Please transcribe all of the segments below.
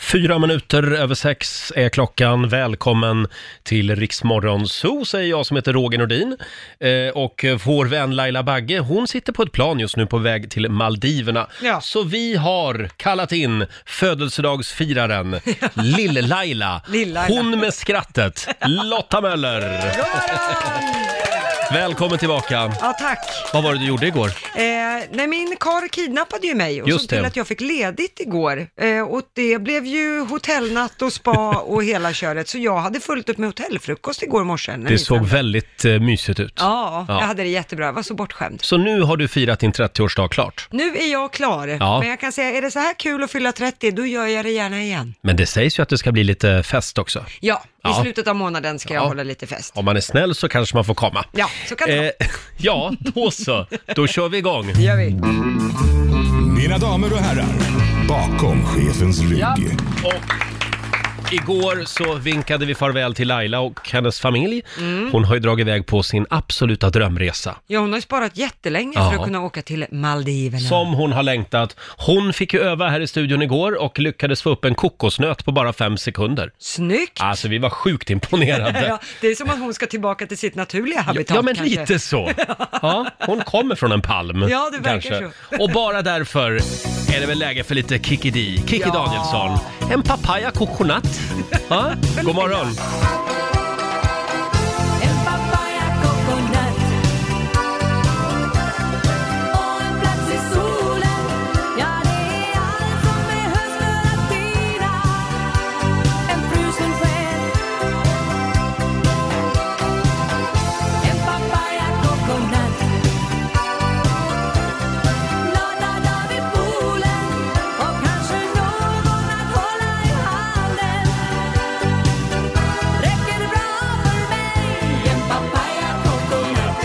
Fyra minuter över sex är klockan. Välkommen till Riksmorgon Zoo säger jag som heter Roger Nordin. Eh, och vår vän Laila Bagge, hon sitter på ett plan just nu på väg till Maldiverna. Ja. Så vi har kallat in födelsedagsfiraren Lill-Laila. Lill-Laila. Hon med skrattet, Lotta Möller. Välkommen tillbaka. Ja, tack. Vad var det du gjorde igår? Eh, nej, min karl kidnappade ju mig och Just såg till det. att jag fick ledigt igår. Eh, och det blev ju hotellnatt och spa och hela köret, så jag hade fullt upp med hotellfrukost igår morse. när Det vi såg sände. väldigt eh, mysigt ut. Ja, Ja. jag hade det jättebra. Jag var så bortskämd. Så nu har du firat din 30-årsdag klart. Nu är jag klar, Ja. men jag kan säga, är det så här kul att fylla 30, då gör jag det gärna igen. Men det sägs ju att det ska bli lite fest också. Ja, i Ja. slutet av månaden ska jag hålla lite fest. Om man är snäll så kanske man får komma. Ja, så kan det vara. Eh, ja, då så. Då kör vi igång. gör vi. Mina damer och herrar, bakom chefens rygg. Och igår så vinkade vi farväl till Laila och hennes familj. Mm. Hon har ju dragit iväg på sin absoluta drömresa. Ja, hon har ju sparat jättelänge för Ja. att kunna åka till Maldiverna. Som hon har längtat. Hon fick ju öva här i studion igår och lyckades få upp en kokosnöt på bara fem sekunder. Snyggt! Alltså vi var sjukt imponerade. Ja, det är som att hon ska tillbaka till sitt naturliga habitat Ja, men kanske. lite så. Ja, hon kommer från en palm. Ja, det verkar så. Och bara därför är det väl läge för lite Kikki Dee. Kikki Ja. Danielsson. En papaya coconut. Ja, god morgon. En papaya coconut och en plats i solen Ja, det är allt som behövs för att fira en frusen själ En papaya coconut Glada dag vid poolen och kanske någon att hålla i handen Räcker bra för mig En papaya coconut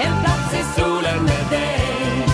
En plats i solen med dig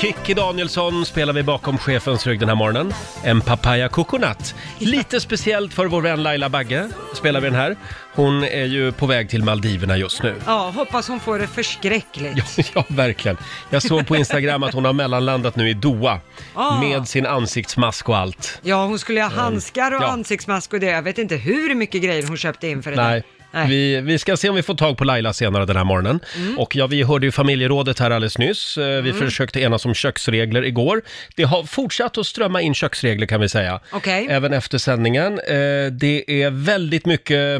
Kikki Danielsson spelar vi bakom chefens rygg den här morgonen. En papaya coconut. Lite speciellt för vår vän Laila Bagge spelar vi den här. Hon är ju på väg till Maldiverna just nu. Ja, hoppas hon får det förskräckligt. Ja, ja, verkligen. Jag såg på Instagram att hon har mellanlandat nu i Doha Ah. med sin ansiktsmask och allt. Ja, hon skulle ha handskar och Mm. Ja. ansiktsmask och det. Jag vet inte hur mycket grejer hon köpte in för det Nej. där. Nej. Mm. Vi, vi ska se om vi får tag på Laila senare den här morgonen. Och ja, vi hörde ju familjerådet här alldeles nyss. Eh, Vi försökte enas om köksregler igår. Det har fortsatt att strömma in köksregler kan vi säga. Okej. Även efter sändningen. Eh, Det är väldigt mycket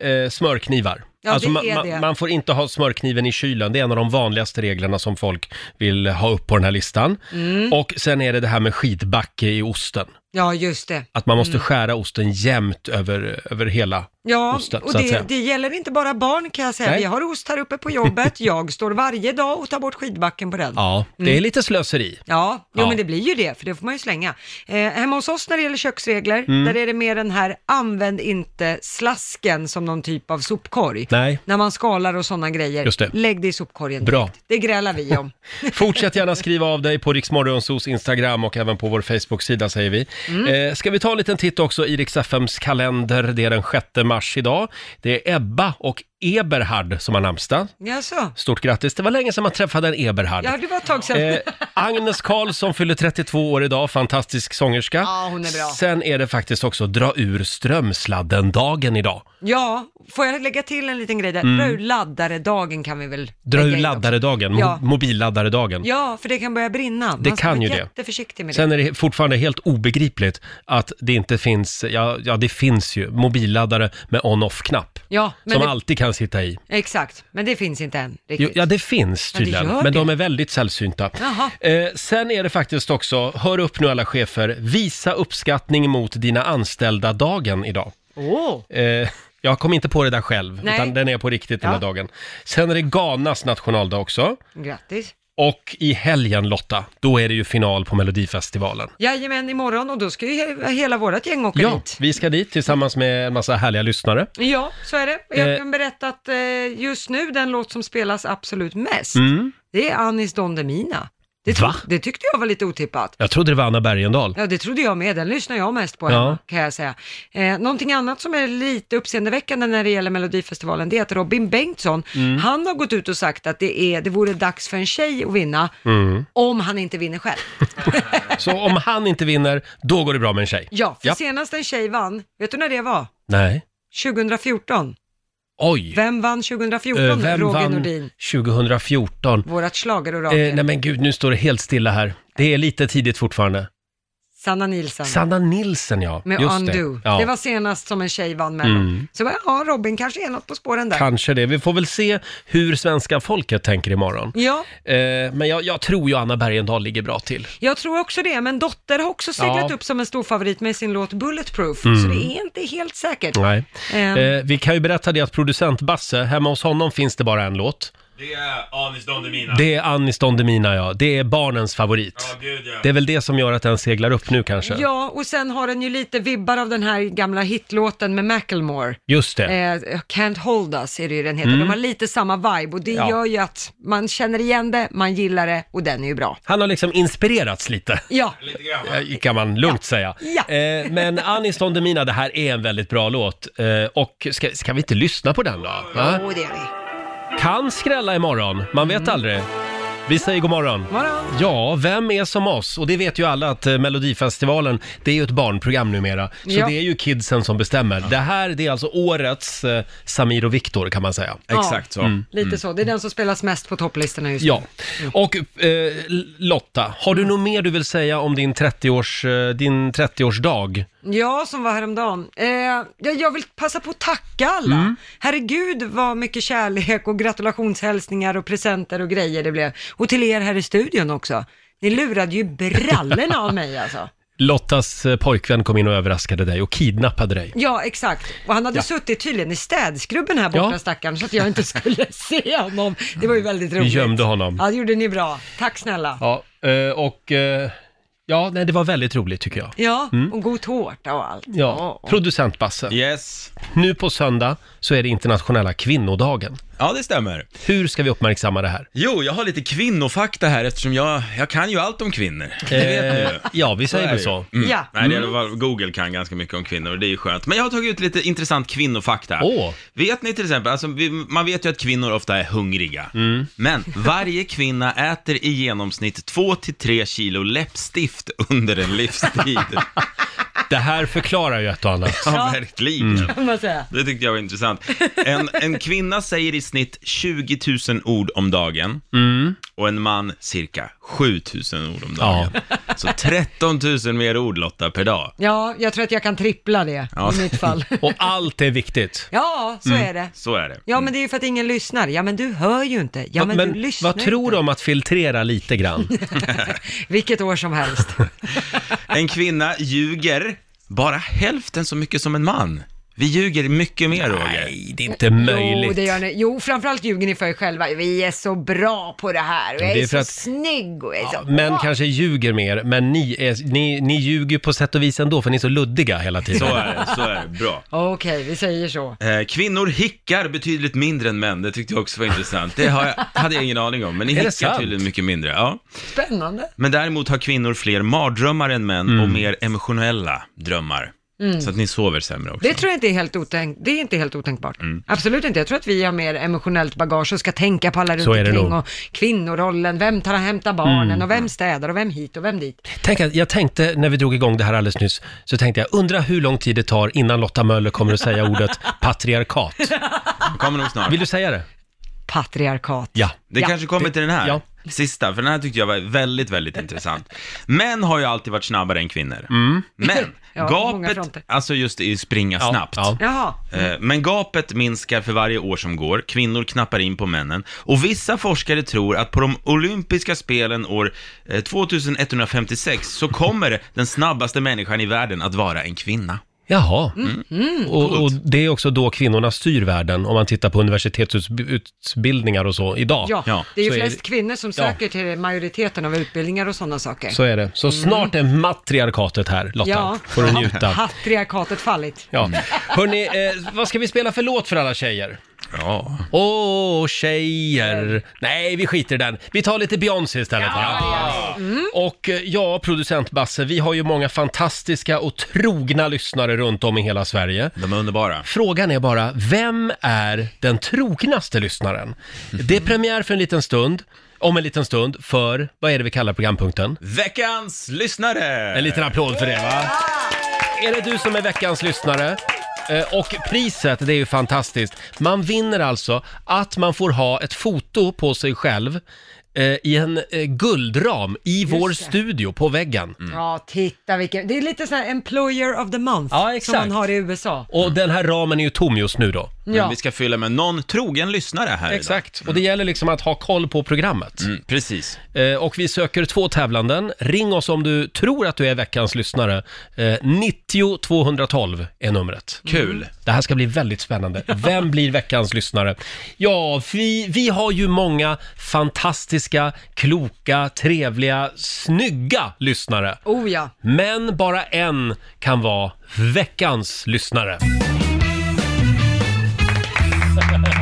eh, smörknivar. Ja, det man, är man- det. man får inte ha smörkniven i kylen. Det är en av de vanligaste reglerna som folk vill ha upp på den här listan. Mm. Och sen är det det här med skidbacke i osten. Ja, just det. Att man måste skära osten jämnt över, över hela Mm. Ja, osten. och så att säga. det, det gäller inte bara barn kan jag säga. Nej. Vi har ost här uppe på jobbet. Jag står varje dag och tar bort skidbacken på den. Mm. Ja, det är lite slöseri. Ja, jo Ja. men det blir ju det, för det får man ju slänga. Eh, hemma hos oss när det gäller köksregler, Mm. där är det mer den här använd inte slasken som någon typ av sopkorg. Nej. När man skalar och sådana grejer, Just det. lägg det i sopkorgen Bra. direkt. Det grälar vi om. Fortsätt gärna skriva av dig på Riksmorgonsos Instagram och även på vår Facebook-sida säger vi. Mm. Eh, ska vi ta en liten titt också i Rix FMs kalender. Det är den 6 mars idag. Det är Ebba och Eberhard som har namnsdag. Jaså? Stort grattis. Det var länge sedan man träffade en Eberhard. Ja, det var ett tag sedan. Eh, Agnes Karlsson fyller 32 år idag, fantastisk sångerska. Ja, hon är bra. Sen är det faktiskt också dra ur strömsladden-dagen idag. Ja, får jag lägga till en liten grej där? Dra ur laddare-dagen kan vi väl Mm. Dra lägga ur in också. laddare-dagen, Ja. mo- mobilladdare-dagen. Ja, för det kan börja brinna. Man Det ska kan vara ju det. jätteförsiktig med det. Sen är det fortfarande helt obegripligt att det inte finns, ja, ja det finns ju mobilladdare med on-off-knapp. Ja, men som det- alltid kan sitta i. Exakt, men det finns inte än Jo, riktigt. ja, det finns Ja, det tydligen, gör men det. de är väldigt sällsynta. Jaha. Eh, sen är det faktiskt också, hör upp nu alla chefer, visa uppskattning mot dina anställda-dagen idag. Åh. Eh, jag kom inte på det där själv, Nej. utan den är på riktigt den Ja. här dagen. Sen är det Ghanas nationaldag också. Grattis. Och i helgen Lotta, då är det ju final på Melodifestivalen. Jajamän, imorgon och då ska ju he- hela vårt gäng åka Ja, dit. vi ska dit tillsammans med en massa härliga lyssnare. Ja, så är det. Jag Eh. kan berätta att Mm. eh, just nu den låt som spelas absolut mest, det är Anis Don Demina. Det, Va? det tyckte jag var lite otippat. Jag trodde det var Anna Bergendahl. Ja, det trodde jag med. Den lyssnar jag mest på, Ja. kan jag säga. Eh, någonting annat som är lite uppseendeväckande när det gäller Melodifestivalen, det är att Robin Bengtsson, Mm. han har gått ut och sagt att det, är, det vore dags för en tjej att vinna, om han inte vinner själv. Så om han inte vinner, då går det bra med en tjej. Ja, för Ja. senast en tjej vann, vet du när det var? Nej. 2014. Oj! Vem vann Eh, 2014, Roger Nordin? 2014? Vårat Eh, schlagerorakel. nej men gud, nu står det helt stilla här. Det är lite tidigt fortfarande. Sanna Nilsson. Sanna Nilsen ja, med just Undo. det. Det. Ja. Mm. var senast som en tjej vann Mello. Så bara, ja, Robin kanske är något på spåren där. Kanske det. Vi får väl se hur svenska folket tänker imorgon. Ja, Eh, men jag, jag tror ju Anna Bergendahl ligger bra till. jag tror också det, men Dotter har också seglat Ja. Mm. upp som en stor favorit med sin låt Bulletproof, så det är inte helt säkert. Nej. Ehm. Eh, vi kan ju berätta det att producent Basse, hemma hos honom finns det bara en låt. Det är Anis Don Demina. Det är Anis Don Demina ja. Det är barnens favorit. Ja, gud ja. Det är väl det som gör att den seglar upp nu kanske. Ja, och sen har den ju lite vibbar av den här gamla hitlåten med Macklemore. Just det. Mm. Eh, Can't hold us är det ju den heter. De har lite samma vibe och det Ja. gör ju att man känner igen det, man gillar det och den är ju bra. Han har liksom inspirerats lite. Ja, Lite grann. va? Eh, kan man lugnt säga. Ja. Eh, men Anis Don Demina, det här är en väldigt bra låt. Eh, och ska, ska vi inte lyssna på den då? Va? och det är vi. Kan skrälla imorgon, man vet aldrig. Vi säger god morgon. Mm. Morgon. Ja, vem är som oss? Och det vet ju alla att eh, Melodifestivalen, det är ju ett barnprogram numera. Så Ja. det är ju kidsen som bestämmer. Det här, det är alltså årets eh, Samir och Viktor kan man säga. Exakt så. Lite så. Det är den som spelas mest på topplistorna just nu. Mm. Ja, och eh, Lotta, har Mm. du något mer du vill säga om din 30-års, eh, din 30-årsdag? Ja, som var häromdagen. Eh, jag- jag vill passa på att tacka alla. Mm. Herregud vad mycket kärlek och gratulationshälsningar och presenter och grejer det blev. Och till er här i studion också. Ni lurade ju brallorna av mig alltså. Lottas eh, pojkvän kom in och överraskade dig och kidnappade dig. Ja, exakt. Och han hade suttit tydligen i städskrubben här borta Ja. stackaren, så att jag inte skulle se honom. Det var ju väldigt roligt. Vi gömde honom. Ja, det gjorde ni bra. Tack snälla. Ja, Ja, eh, och eh, ja, nej, det var väldigt roligt tycker jag. och god tårta och allt. Mm. Ja, Ja. producent Basse. Yes. Nu på söndag så är det internationella kvinnodagen. Ja, det stämmer. Hur ska vi uppmärksamma det här? Jo, jag har lite kvinnofakta här eftersom jag, jag kan ju allt om kvinnor. Det vet ni ju. Eh, ja, vi säger är väl det. så. Mm. Ja. Nej, det är vad Google kan ganska mycket om kvinnor och det är ju skönt. Men jag har tagit ut lite intressant kvinnofakta. Åh. Vet ni till exempel, alltså, vi, man vet ju att kvinnor ofta är hungriga. Mm. Men varje kvinna äter i genomsnitt 2-3 kilo läppstift under en livstid. Det här förklarar ju ett och annat. Mm. ja, verkligen. Kan man säga. Det tyckte jag var intressant. En, en kvinna säger i snitt 20 000 ord om dagen Mm. och en man cirka 7 000 ord om dagen. Så 13 000 mer ord Lotta per dag. Ja, jag tror att jag kan trippla det Ja. i mitt fall. Och allt är viktigt. Ja, så Mm. är det. mm. Så är det. Ja, men det är ju för att ingen lyssnar. Ja, men du hör ju inte. Ja, men, du lyssnar vad tror du om att filtrera lite grann? inte. Vilket år som helst. En kvinna ljuger bara hälften så mycket som en man. Vi ljuger mycket mer Roger. Nej, det är inte möjligt. Jo, det gör ni. Jo, framförallt ljuger ni för er själva. Vi är så bra på det här och jag Det är, är för så att- snygg och jag är så Män bra. kanske ljuger mer, men ni, är, ni, ni ljuger på sätt och vis ändå för ni är så luddiga hela tiden. Så är det, så är det. Bra. Okej, vi säger så. Eh, Kvinnor hickar betydligt mindre än män, det tyckte jag också var intressant. Det har jag, hade jag ingen aning om, men ni Är det hickar sant? tydligen mycket mindre. Ja. Spännande. Men däremot har kvinnor fler mardrömmar än män och Mm. mer emotionella drömmar. Så att ni sover sämre också. Mm. Mm. Det tror jag inte är helt, otänk... det är inte helt otänkbart. Absolut inte. Jag tror att vi har mer emotionellt bagage och ska tänka på alla runt Så är det omkring nog. Mm. och kvinnorollen, vem tar och hämtar barnen och vem städar och vem hit och vem dit. Tänk att jag tänkte när vi drog igång det här alldeles nyss, så tänkte jag undra hur lång tid det tar innan Lotta Möller kommer att säga ordet patriarkat. Det kommer nog snart. Vill du säga det? Patriarkat. Ja. Det Ja. kanske kommer till den här Ja. sista, för den här tyckte jag var väldigt, väldigt intressant. Män har ju alltid varit snabbare än kvinnor. Men Ja, på många fronter. gapet, alltså just i springa Mm. Ja, snabbt. ja. Jaha. Eh, Men gapet minskar för varje år som går, kvinnor knappar in på männen och vissa forskare tror att på de olympiska spelen år eh, 2156 så kommer den snabbaste människan i världen att vara en kvinna. Jaha. Mm. och, och det är också då kvinnorna styr världen, om man tittar på universitetsutbildningar och så idag. Ja, Ja, det är ju så är flest det- kvinnor som Ja. söker till majoriteten av utbildningar och sådana saker. Så är det. Så snart är matriarkatet här, Lotta. Mm. ja, Får du njuta. patriarkatet fallit. Mm. Ja. Hörni, eh, vad ska vi spela för låt för alla tjejer? Ja. Åh, tjejer. Nej, vi skiter i den. Vi tar lite Beyoncé istället. va? Och eh, ja, producent Basse, vi har ju många fantastiska och trogna lyssnare runt om i hela Sverige. De är underbara. Frågan är bara, vem är den trognaste lyssnaren? Det är premiär för en liten stund, om en liten stund, för, vad är det vi kallar programpunkten? Veckans lyssnare! En liten applåd för det va? Är det du som är veckans lyssnare? Eh, Och priset, det är ju fantastiskt. Man vinner alltså att man får ha ett foto på sig själv eh, i en eh, guldram i vår studio på väggen. Ja, titta vilken. Det är lite sån här employer of the month Ja, exakt. som man har i USA. Och den här ramen är ju tom just nu då. Men vi ska fylla med någon trogen lyssnare här Exakt, och det gäller liksom att ha koll på programmet. idag. Mm, precis. Eh, Och vi söker två tävlanden. Ring oss om du tror att du är veckans lyssnare. Eh, 90 212 är numret. Kul. Det här ska bli väldigt spännande. Vem blir veckans lyssnare? Ja, vi, vi har ju många fantastiska, kloka, trevliga, snygga lyssnare. Oh ja. Men bara en kan vara veckans lyssnare.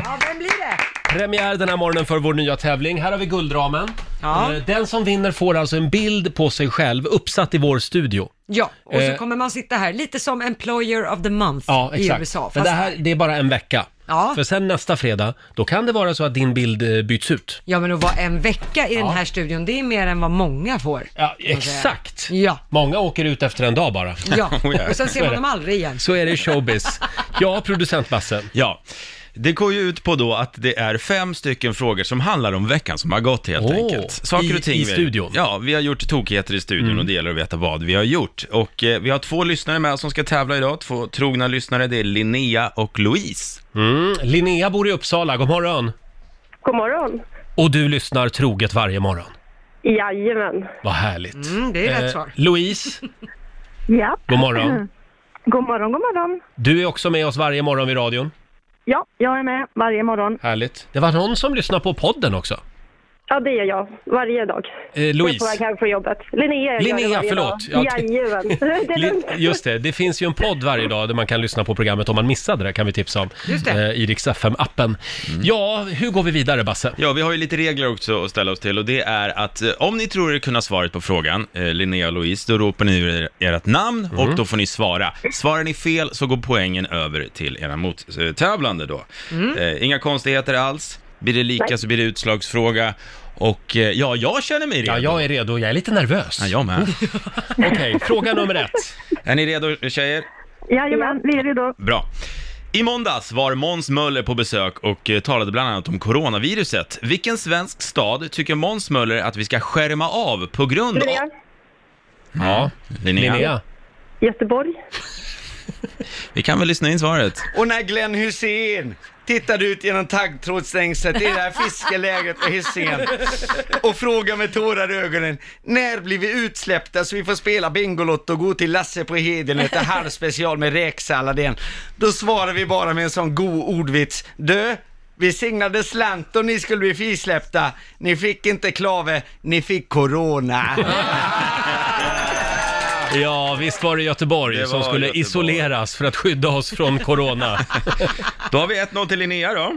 Ja, vem blir det? Premiär den här morgonen för vår nya tävling. Här har vi guldramen. Ja. Eh, Den som vinner får alltså en bild på sig själv uppsatt i vår studio. Ja, och så Eh. kommer man sitta här lite som employer of the month Ja, i exakt. USA. Men Fast, det här, det är bara en vecka. Ja. För sen nästa fredag, då kan det vara så att din bild eh, byts ut. Ja, men att vara en vecka i den här studion, det är mer än vad många får. Ja, man säga. exakt. Ja. Många åker ut efter en dag bara. Oh, Ja, ja. och sen ser Oh är man det. dem aldrig igen. Så är det i showbiz. Ja, producent Basse. Ja. Det går ju ut på då att det är fem stycken frågor som handlar om veckan som har gått helt Åh, enkelt. Saker i- och ting i vi- studion. Mm. Ja, vi har gjort tokigheter i studion och det gäller att veta vad vi har gjort. Och eh, vi har två lyssnare med som ska tävla idag, två trogna lyssnare. Det är Linnea och Louise. Mm. Linnea bor i Uppsala, god morgon. God morgon. Och du lyssnar troget varje morgon. Jajamän. Vad härligt. Eh, Mm, det är rätt svar. Louise, Ja. god morgon. God morgon, god morgon. Du är också med oss varje morgon vid radion. Ja, jag är med varje morgon. Härligt. Det var någon som lyssnade på podden också. Ja, det gör jag. Varje dag. Eh, Jag är på väg Louise. hem från jobbet. Linnea, jag Linnea, gör det varje förlåt. Dag. Ja, det- Jajamän. Det är Li- lugnt. Just det, det finns ju en podd varje dag där man kan lyssna på programmet om man missade det kan vi tipsa om. Just det. Eh, I Rix FM-appen. Ja, hur går vi vidare Basse? Ja, vi har ju lite regler också att ställa oss till och det är att eh, om ni tror er kunna svaret på frågan, eh, Linnea och Louise, då ropar ni er, ert namn Mm. och då får ni svara. Svarar ni fel så går poängen över till era mottävlande då. Mm. Eh, inga konstigheter alls, blir det lika så blir det utslagsfråga och eh, ja, jag känner mig redo. Ja, jag är redo. Jag är lite nervös. Ja, jag med. Okej, fråga nummer ett. är ni redo tjejer? Jajamän, vi är redo. Bra. I måndags var Måns Möller på besök och eh, talade bland annat om coronaviruset. Vilken svensk stad tycker Måns Möller att vi ska skärma av på grund av... Linnea, Ja, Linnea. Linnea. Göteborg. Vi kan väl lyssna in svaret. Och när Glenn Hussein tittade ut genom taggtrådsstängslet i det här fiskelägret på Hussein och frågade med tårar i ögonen, när blir vi utsläppta så vi får spela Bingolotto och gå till Lasse på Heden och äta halvspecial med räksallad igen? Då svarar vi bara med en sån god ordvits, dö, vi signade slant och ni skulle bli frisläppta. Ni fick inte klave, ni fick corona. Ja, visst var det Göteborg Det som var skulle Göteborg. isoleras för att skydda oss från corona. Då har vi 1-0 till Linnea då.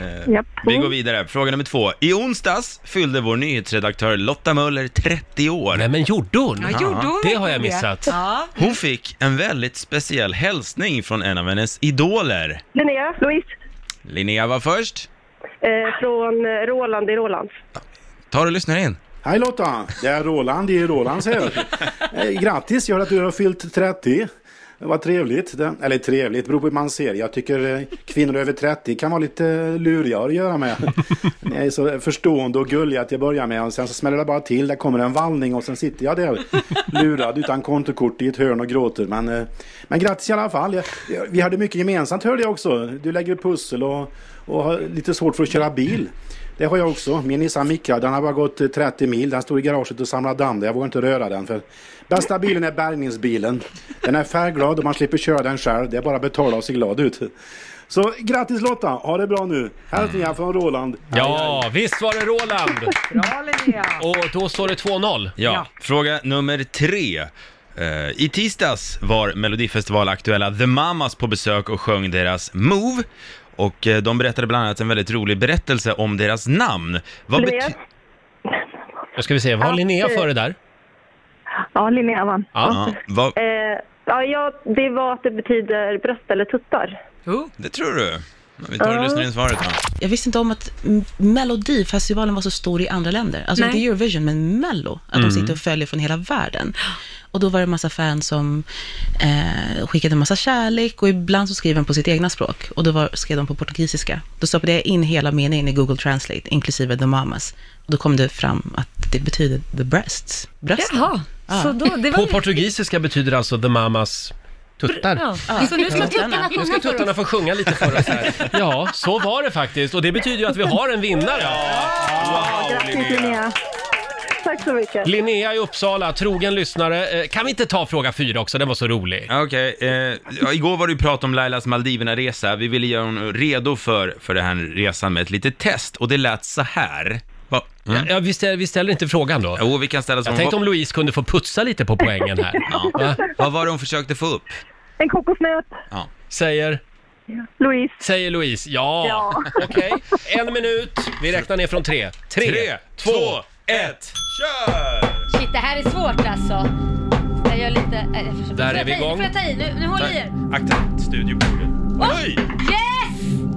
Eh, Japp. Vi går vidare. Fråga nummer två. I onsdags fyllde vår nyhetsredaktör Lotta Möller 30 år. Nej, men gjorde hon? Ja, gjorde hon det har jag verkligen missat. Ja. Hon fick en väldigt speciell hälsning från en av hennes idoler. Linnea, Louise, Linnea var först. eh, från eh, Roland i Rolands. Tar och lyssnar in. Hej Lotta! Det är Roland i Rolands här. Eh, Grattis, gör att du har fyllt 30. Det var trevligt. Det, eller trevligt, beror på hur man ser. Jag tycker eh, kvinnor över 30 kan vara lite luriga att göra med. Ni är så förstående och gulliga att jag börjar med och sen så smäller det bara till. Där kommer en vallning och sen sitter jag där lurad utan kontokort i ett hörn och gråter. Men, eh, men grattis i alla fall. Jag, jag, vi hade mycket gemensamt hörde jag också. Du lägger pussel och, och har lite svårt för att köra bil. Det har jag också. Min Nissan Micra, den har bara gått eh, 30 mil. Den står i garaget och samlar damm. där. Jag vågar inte röra den. För bästa bilen är bärgningsbilen. Den är färgglad och man slipper köra den själv. Det är bara att betala och se glad ut. Så grattis Lotta, ha det bra nu. Hälsningar från Roland. Ja, visst var det Roland. Bra Linnea. Och då står det 2-0. Ja. Ja. Fråga nummer tre. Eh, I tisdags var Melodifestivalaktuella The Mamas på besök och sjöng deras Move. Och eh, de berättade bland annat en väldigt rolig berättelse om deras namn. Vad Linnea. bety- Då ska vi se, vad har Linnea före där? Ja, Linnea vann. ja, vad, Eh, ja, ja, det var att det betyder bröst eller tuttar. Oh. det tror du? Vi tar och lyssnar in svaret då. Jag visste inte om att M- Melodifestivalen var så stor i andra länder. Alltså Nej. inte Eurovision, men Mello. Att de sitter och följer från hela världen. Och då var det en massa fans som eh, skickade en massa kärlek och ibland så skrev de på sitt egna språk. Och då var, skrev de på portugisiska. Då stoppade jag in hela meningen i Google Translate, inklusive The Mamas. Och då kom det fram att det betyder the breasts. Bröst. Jaha, så då, det var På ju... portugisiska betyder det alltså the mamas tuttar. Ja. Så nu ska Ja. tuttarna Nu ska sjunga för tuttarna oss. få sjunga lite för oss här. Ja, så var det faktiskt. Och det betyder ju att vi har en vinnare. Grattis Linnea! Tack så mycket. Linnea i Uppsala, trogen lyssnare. Eh, Kan vi inte ta fråga fyra också? Den var så rolig. Ja, Okej, eh, ja, igår var det ju prat om Lailas Maldiverna-resa. Vi ville göra hon redo för, för den här resan med ett litet test och det lät så här. Va? Mm. Ja, vi, ställer, vi ställer inte frågan då. Jo, vi kan ställa Jag som... tänkte om Vad, Louise kunde få putsa lite på poängen här. Va? vad var det hon försökte få upp? En kokosnöt, Ja. Säger, Louise. säger Louise. Ja, Ja. okej. En minut. Vi räknar ner från tre. Tre, Tre, två, två, ett. Kör! Shit, det här är svårt alltså. Jag gör lite... äh, jag försöker- Där får är jag vi ta i? igång. Får jag ta i? Nu, nu håller i er. Akta studiobordet. Oj! Yes!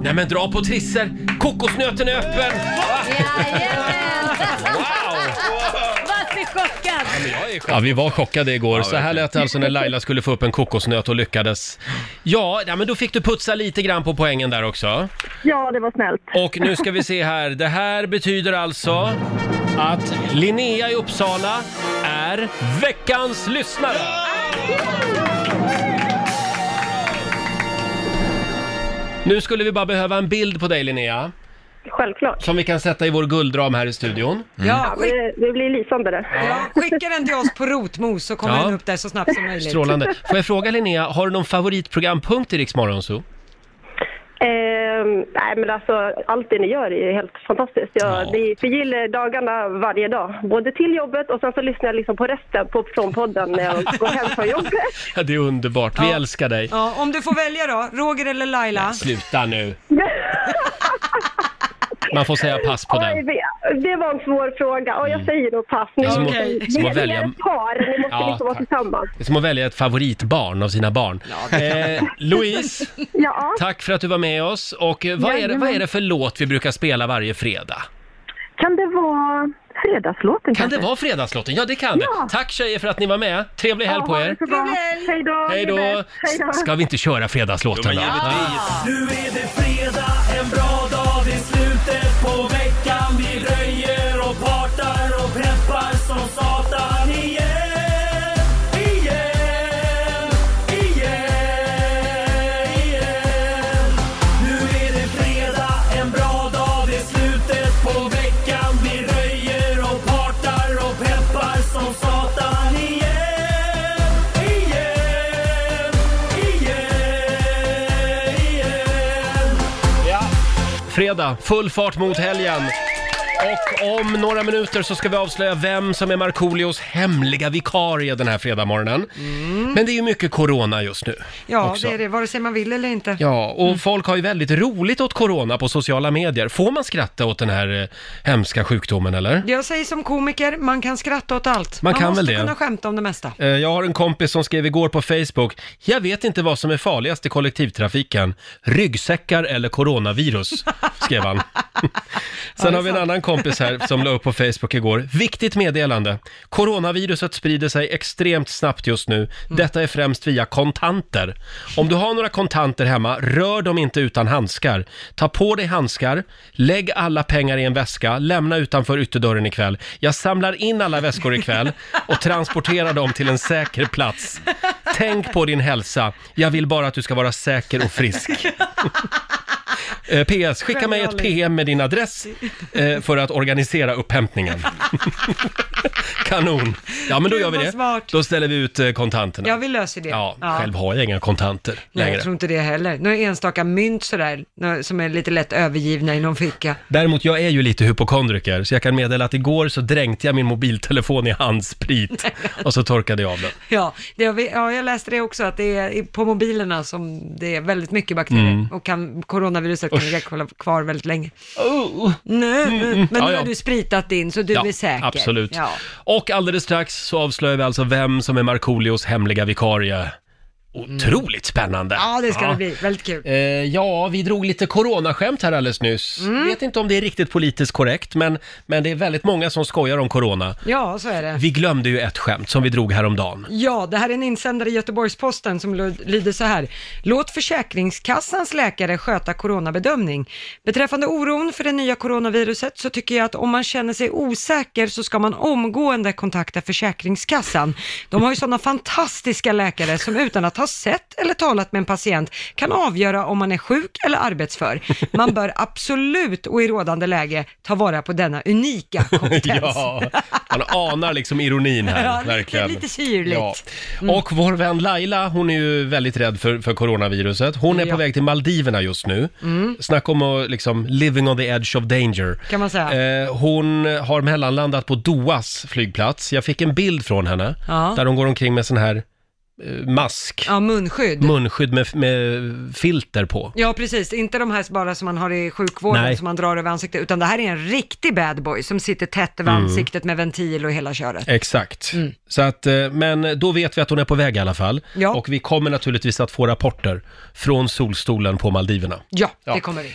Nej men dra på trisser. Kokosnöten är öppen. Va? Jajamän! Wow! Vad så chockad! Ja, vi var chockade igår. så här verkligen. lät det alltså när Laila skulle få upp en kokosnöt och lyckades. Ja, ja, men då fick du putsa lite grann på poängen där också. Ja, det var snällt. Och nu ska vi se här. Det här betyder alltså att Linnea i Uppsala är veckans lyssnare. Nu skulle vi bara behöva en bild på dig Linnea, Självklart. som vi kan sätta i vår guldram här i studion. Mm. Ja, skick, Det, det blir lysande det. ja, skicka den till oss på rotmos så kommer Ja. den upp där så snabbt som möjligt. Strålande. Får jag fråga Linnea, har du någon favoritprogrampunkt i Rix Morgonzoo? Ehm, nej, men alltså, allt det ni gör är ju helt fantastiskt. Jag, Ja. Ni förgyller dagarna varje dag. Både till jobbet och sen så lyssnar jag liksom på resten på, från podden när jag går hem från jobbet. Ja, det är underbart. Vi älskar dig. Ja, om du får välja då, Roger eller Laila? Sluta nu. Man får säga pass på Oj, den. det- det var en svår fråga. Och Mm. jag säger nog pass. Ni, Det är som att- ni, som ni att välja- är ett par. Ni måste Ja, liksom vara tack. tillsammans. Det är som att välja ett favoritbarn av sina barn. Eh, Louise, Ja, tack för att du var med oss. Och eh, vad är, det, vad är det för låt vi brukar spela varje fredag? kan det vara fredagslåten Kan det vara Fredagslotten? Ja, det kan det. Tack tjejer för att ni var med. Trevlig helg på er. Trevlig helg! Hej då! Hej då! S- Ska vi inte köra Jo, Fredagslåten men då? givetvis. Nu är det fredag, en bra dag, det är slutet på veckan Vi röjer och partar och peppar som satan igen Igen, igen, igen Nu är det fredag, en bra dag, det är slutet på veckan Vi röjer och partar och peppar som satan igen Igen, igen, igen Fredag, full fart mot helgen. Och om några minuter så ska vi avslöja vem som är Markoolios hemliga vikarie den här fredagmorgonen. Men det är ju mycket corona just nu. Mm. Ja, också. det är det, vare sig man vill eller inte. Ja, och Mm. folk har ju väldigt roligt åt corona på sociala medier. Får man skratta åt den här eh, hemska sjukdomen eller? Jag säger som komiker, man kan skratta åt allt. Man kan måste väl det. kunna skämta om det mesta. Eh, Jag har en kompis som skrev igår på Facebook, jag vet inte vad som är farligast i kollektivtrafiken, ryggsäckar eller coronavirus, skrev han. Sen har vi en annan kompis här som la upp på Facebook igår, viktigt meddelande, coronaviruset sprider sig extremt snabbt just nu, detta är främst via kontanter. Om du har några kontanter hemma, rör dem inte utan handskar. Ta på dig handskar, lägg alla pengar i en väska, lämna utanför ytterdörren ikväll. Jag samlar in alla väskor ikväll och transporterar dem till en säker plats. Tänk på din hälsa. Jag vill bara att du ska vara säker och frisk. Eh, PS, skicka mig ett PM med din adress eh, för att organisera upphämtningen. Kanon! Ja, men då Gud, gör vi vad det. smart. Då ställer vi ut eh, kontanterna. Ja, vi löser det. Ja, själv har jag inga kontanter Nej, längre. jag tror inte det heller. Några enstaka mynt sådär, nå- som är lite lätt övergivna i någon ficka. Däremot, jag är ju lite hypokondriker, så jag kan meddela att igår så dränkte jag min mobiltelefon i handsprit och så torkade jag av den. Ja, det har vi, ja, Mm. jag läste det också, att det är i- på mobilerna som det är väldigt mycket bakterier och kan, coronaviruset orkar ligga kolla kvar väldigt länge. Oh. Nej, men nu Ja, ja. har du spritat din så du Ja, är säker. absolut. Ja. Och alldeles strax så avslöjar vi alltså vem som är Markoolios hemliga vikarie. Otroligt spännande! Mm. ja, det ska det bli. Väldigt kul. Eh, ja, vi drog lite coronaskämt här alldeles nyss. Mm. Vet inte om det är riktigt politiskt korrekt, men, men det är väldigt många som skojar om corona. Ja, så är det. Vi glömde ju ett skämt som vi drog häromdagen. Ja, det här är en insändare i Göteborgs-Posten som lyd- lyder så här. Låt Försäkringskassans läkare sköta coronabedömning. Beträffande oron för det nya coronaviruset så tycker jag att om man känner sig osäker så ska man omgående kontakta Försäkringskassan. De har ju sådana fantastiska läkare som utan att ha sett eller talat med en patient kan avgöra om man är sjuk eller arbetsför. Man bör absolut och i rådande läge ta vara på denna unika kompetens. ja, man anar liksom ironin här, Ja, lite- verkligen. lite syrligt. Mm. Och vår vän Laila, hon är ju väldigt rädd för, för coronaviruset. Hon är på Ja. väg till Maldiverna just nu. Mm. Snacka om att liksom living on the edge of danger. Kan man säga. Eh, hon har mellanlandat på Dohas flygplats. Jag fick en bild från henne Ja. där hon går omkring med sån här eh, mask, Ja, munskydd. munskydd med, med filter på. Ja, precis. Inte de här bara som man har i sjukvården Nej. som man drar över ansiktet, utan det här är en riktig bad boy som sitter tätt över Mm. ansiktet med ventil och hela köret. Exakt. Så att, eh, men då vet vi att hon är på väg i alla fall. Mm. Ja. Och vi kommer naturligtvis att få rapporter från solstolen på Maldiverna. Ja, Ja. det kommer vi.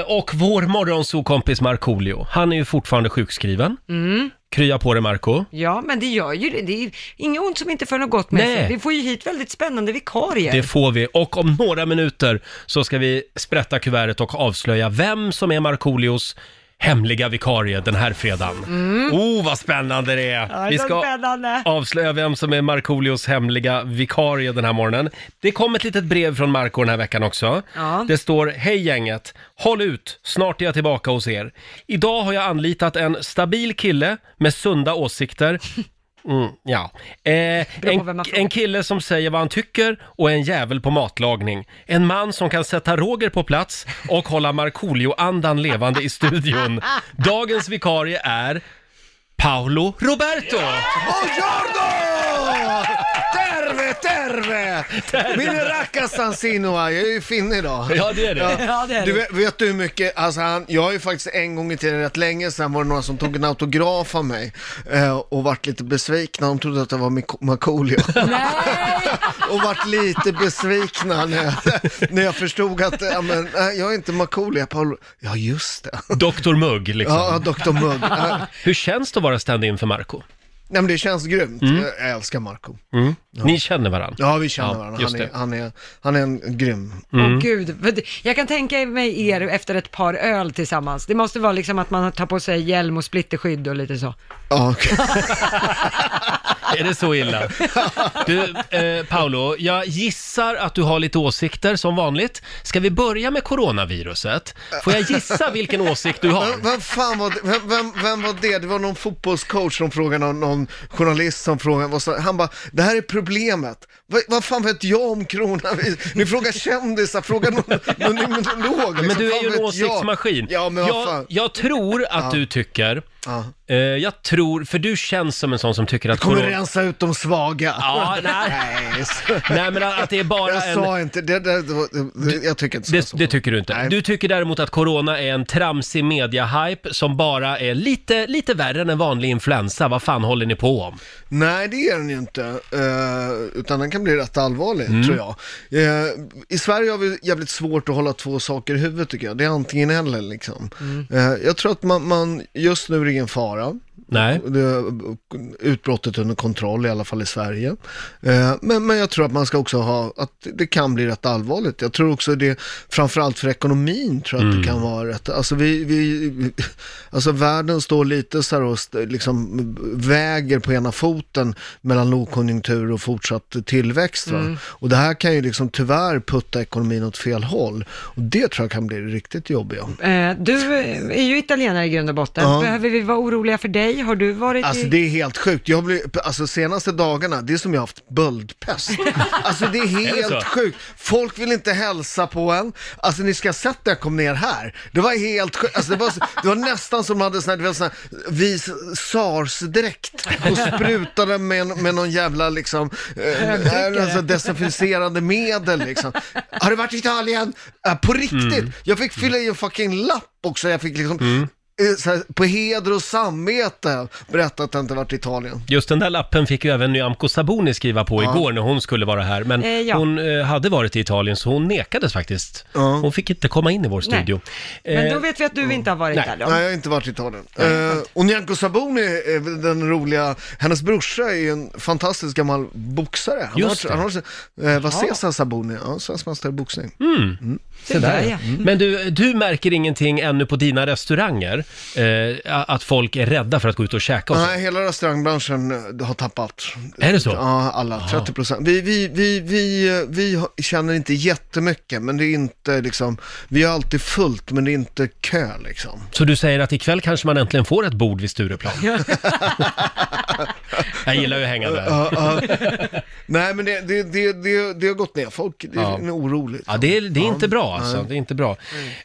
Eh, och vår morgonsokompis Markoolio, han är ju fortfarande sjukskriven. Mm. Krya på dig Marco. Ja, men det gör ju det. Det är inget ont som inte för något gott med Nej. sig. Vi får ju hit väldigt spännande vikarier. Det får vi. Och om några minuter så ska vi sprätta kuvertet och avslöja vem som är Markoolios hemliga vikarie den här fredagen. Mm. Oh, vad spännande det är! Ja, det vi är ska spännande. avslöja vem som är Markoolios hemliga vikarie den här morgonen. Det kom ett litet brev från Marco den här veckan också. Ja. Det står “Hej gänget! Håll ut! Snart är jag tillbaka hos er. Idag har jag anlitat en stabil kille med sunda åsikter. Mm, ja. Eh, en, en kille som säger vad han tycker och en jävel på matlagning. En man som kan sätta Roger på plats och hålla Markoolio-andan levande i studion. Dagens vikarie är Paolo Roberto! Buongiorno! Terve, terve! Terve. Min rackars Sansinoa, jag är ju finne idag. Ja, det är det. Ja, det är du det. vet, vet du hur mycket, alltså han, jag har ju faktiskt en gång i tiden, rätt länge sedan, var det några som tog en autograf av mig eh, och vart lite besvikna. De trodde att det var Mik- Markoolio. och vart lite besvikna när jag, när jag förstod att, ja, men, nej, jag är inte Markoolio, jag är Paolo. Ja, just det. Dr Mugg liksom. Ja, ja, Dr. Mugg. Ja. Hur känns det att vara stand-in för Marco? Nej men det känns grymt. Mm. Jag älskar Marco. Mm. Ni känner varandra? Ja, vi känner Ja, varandra. just Han är, det. han, är, han är en grym. Åh Mm. gud, Vad det- jag kan tänka mig er efter ett par öl tillsammans. Det måste vara liksom att man tar på sig hjälm och splitterskydd och lite så. Ja. Är det så illa? Du, eh, Paolo, jag gissar att du har lite åsikter som vanligt. Ska vi börja med coronaviruset? Får jag gissa vilken åsikt du har? Vem, vem fan var det? Vem, vem, vem var det? Det var någon fotbollscoach som frågade, någon, någon journalist som frågade, vad sa- han bara, det här är problemet. Vad, vad fan vet jag om coronavirus? Ni frågar kändisar, frågar någon, någon immunolog. Liksom. Men du är Fan ju en vet jag? åsiktsmaskin. Ja, men vad jag, fan. jag tror att Ja. du tycker... Eh, jag tror, för du känns som en sån som tycker att... Kommer corona- rensa ut de svaga. Ja, nej. Nej, men att det är bara jag en- sa inte, det, det, det, det, jag tycker inte så. Det, det tycker du inte. Du tycker däremot att corona är en tramsig mediahype som bara är lite, lite värre än en vanlig influensa. Vad fan håller ni på om? Nej, det är den ju inte. Eh, utan den kan bli rätt allvarlig, Mm. tror jag. Eh, I Sverige har vi jävligt svårt att hålla två saker i huvudet, tycker jag. Det är antingen eller, liksom. Eh, jag tror att man, man just nu är det ingen fara. Nej. Det, utbrottet under kontroll, i alla fall i Sverige. Eh, men, men jag tror att man ska också ha, att det kan bli rätt allvarligt. Jag tror också det, framförallt för ekonomin, tror jag att det kan vara rätt. Alltså, vi, vi, alltså världen står lite så här och st- liksom väger på ena foten mellan lågkonjunktur och fortsatt tillväxt. Va? Mm. Och det här kan ju liksom tyvärr putta ekonomin åt fel håll. Och det tror jag kan bli riktigt jobbiga. Eh, du är ju italienare i grund och botten. Ja. Behöver vi var oroliga för dig. Har du varit Alltså i... det är helt sjukt. Jag blir, alltså senaste dagarna, det är som jag haft böldpest. Alltså det är Är det helt så? sjukt. Folk vill inte hälsa på en. Alltså ni ska ha sett när jag kom ner här. Det var helt sjukt. Alltså, det, var, så- det var nästan som de hade sån här, du vet, sån här vis sars-dräkt och sprutade med, med någon jävla liksom, eh, Högtryckare. alltså, desinficerande medel liksom. Har du varit i Italien? Eh, på riktigt? Mm. Jag fick fylla i en fucking lapp också. Jag fick liksom eh, så här, på heder och samvete berätta att jag inte varit i Italien. Just den där lappen fick ju även Nyamko Sabuni skriva på Ja. igår när hon skulle vara här. Men Eh, ja. hon eh, hade varit i Italien så hon nekades faktiskt. Hon fick inte komma in i vår Nej. studio. Eh, Eh, Men då vet vi att du inte har varit nej. där Nej, jag har inte varit i Italien. Eh, och Nyamko Sabuni, eh, den roliga, hennes brorsa är ju en fantastisk gammal boxare. Han Just har, varit- han har, eh, Vasesa Sabuni, ja, svensk mästare i boxning. Mm. Se där. där, ja. Mm. Men du, du märker ingenting ännu på dina restauranger? Eh, att folk är rädda för att gå ut och käka och så? Nej, hela restaurangbranschen eh, har tappat. Är det så? Ja, alla. 30 procent. Vi, vi, vi, vi, eh, vi har- känner inte jättemycket, men det är inte liksom, vi har alltid fullt, men det är inte kö liksom. Så du säger att ikväll kanske man äntligen får ett bord vid Stureplan? jag gillar ju att hänga där. Ja, ja. Nej, men det, det, det, det, det har gått ner. Folk det är Ja. oroligt. Ja, det är, det är inte bra alltså. Nej. Det är inte bra.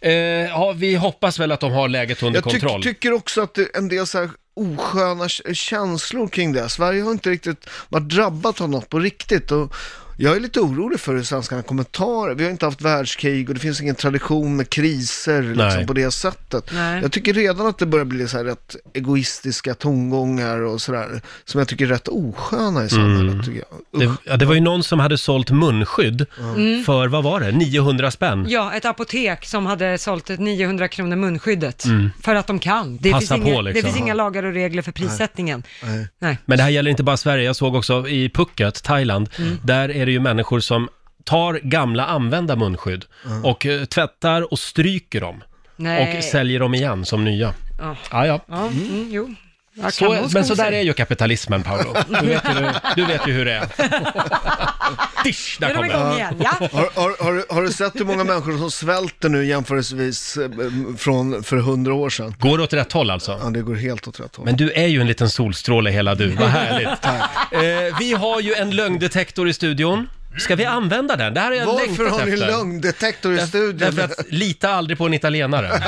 Eh, ja, vi hoppas väl att de har läget under Jag tyck- kontroll. tycker också att det, en del så här osköna k- känslor kring det. Sverige har inte riktigt varit drabbat av något på riktigt. Och jag är lite orolig för hur svenskarna kommer ta det. Vi har inte haft världskrig och det finns ingen tradition med kriser liksom, Nej. på det sättet. Nej. Jag tycker redan att det börjar bli så här rätt egoistiska tongångar och sådär, som jag tycker är rätt osköna i samhället. Mm. Tycker jag. Det, ja, det var ju någon som hade sålt munskydd Mm. för, vad var det, 900 spänn? Ja, ett apotek som hade sålt ett 900 kronor munskyddet. Mm. För att de kan. Det, Passa finns, på, inga, liksom. det finns inga lagar och regler för prissättningen. Nej. Men det här gäller inte bara Sverige, jag såg också i Phuket, Thailand, där är det ju människor som tar gamla använda munskydd och eh, tvättar och stryker dem Nej. och säljer dem igen som nya. Ja. Ja, ja. Ja, mm, jo. Ja, kan Så, man sko men så där sig? är ju kapitalismen, Paolo. Du vet ju, du vet ju hur det är. Dish, där kom den. Har, har, har, du- har du sett hur många människor som svälter nu jämförelsevis eh, m- från för hundra år sedan? Går det åt rätt håll alltså? Ja, det går helt åt rätt håll. Men du är ju en liten solstråle hela du, vad härligt. Tack. Eh, vi har ju en lögndetektor i studion. Ska vi använda den? Det här har jag längtat efter. Varför har ni lögndetektor i Där- studion? Därför att lita aldrig på en italienare.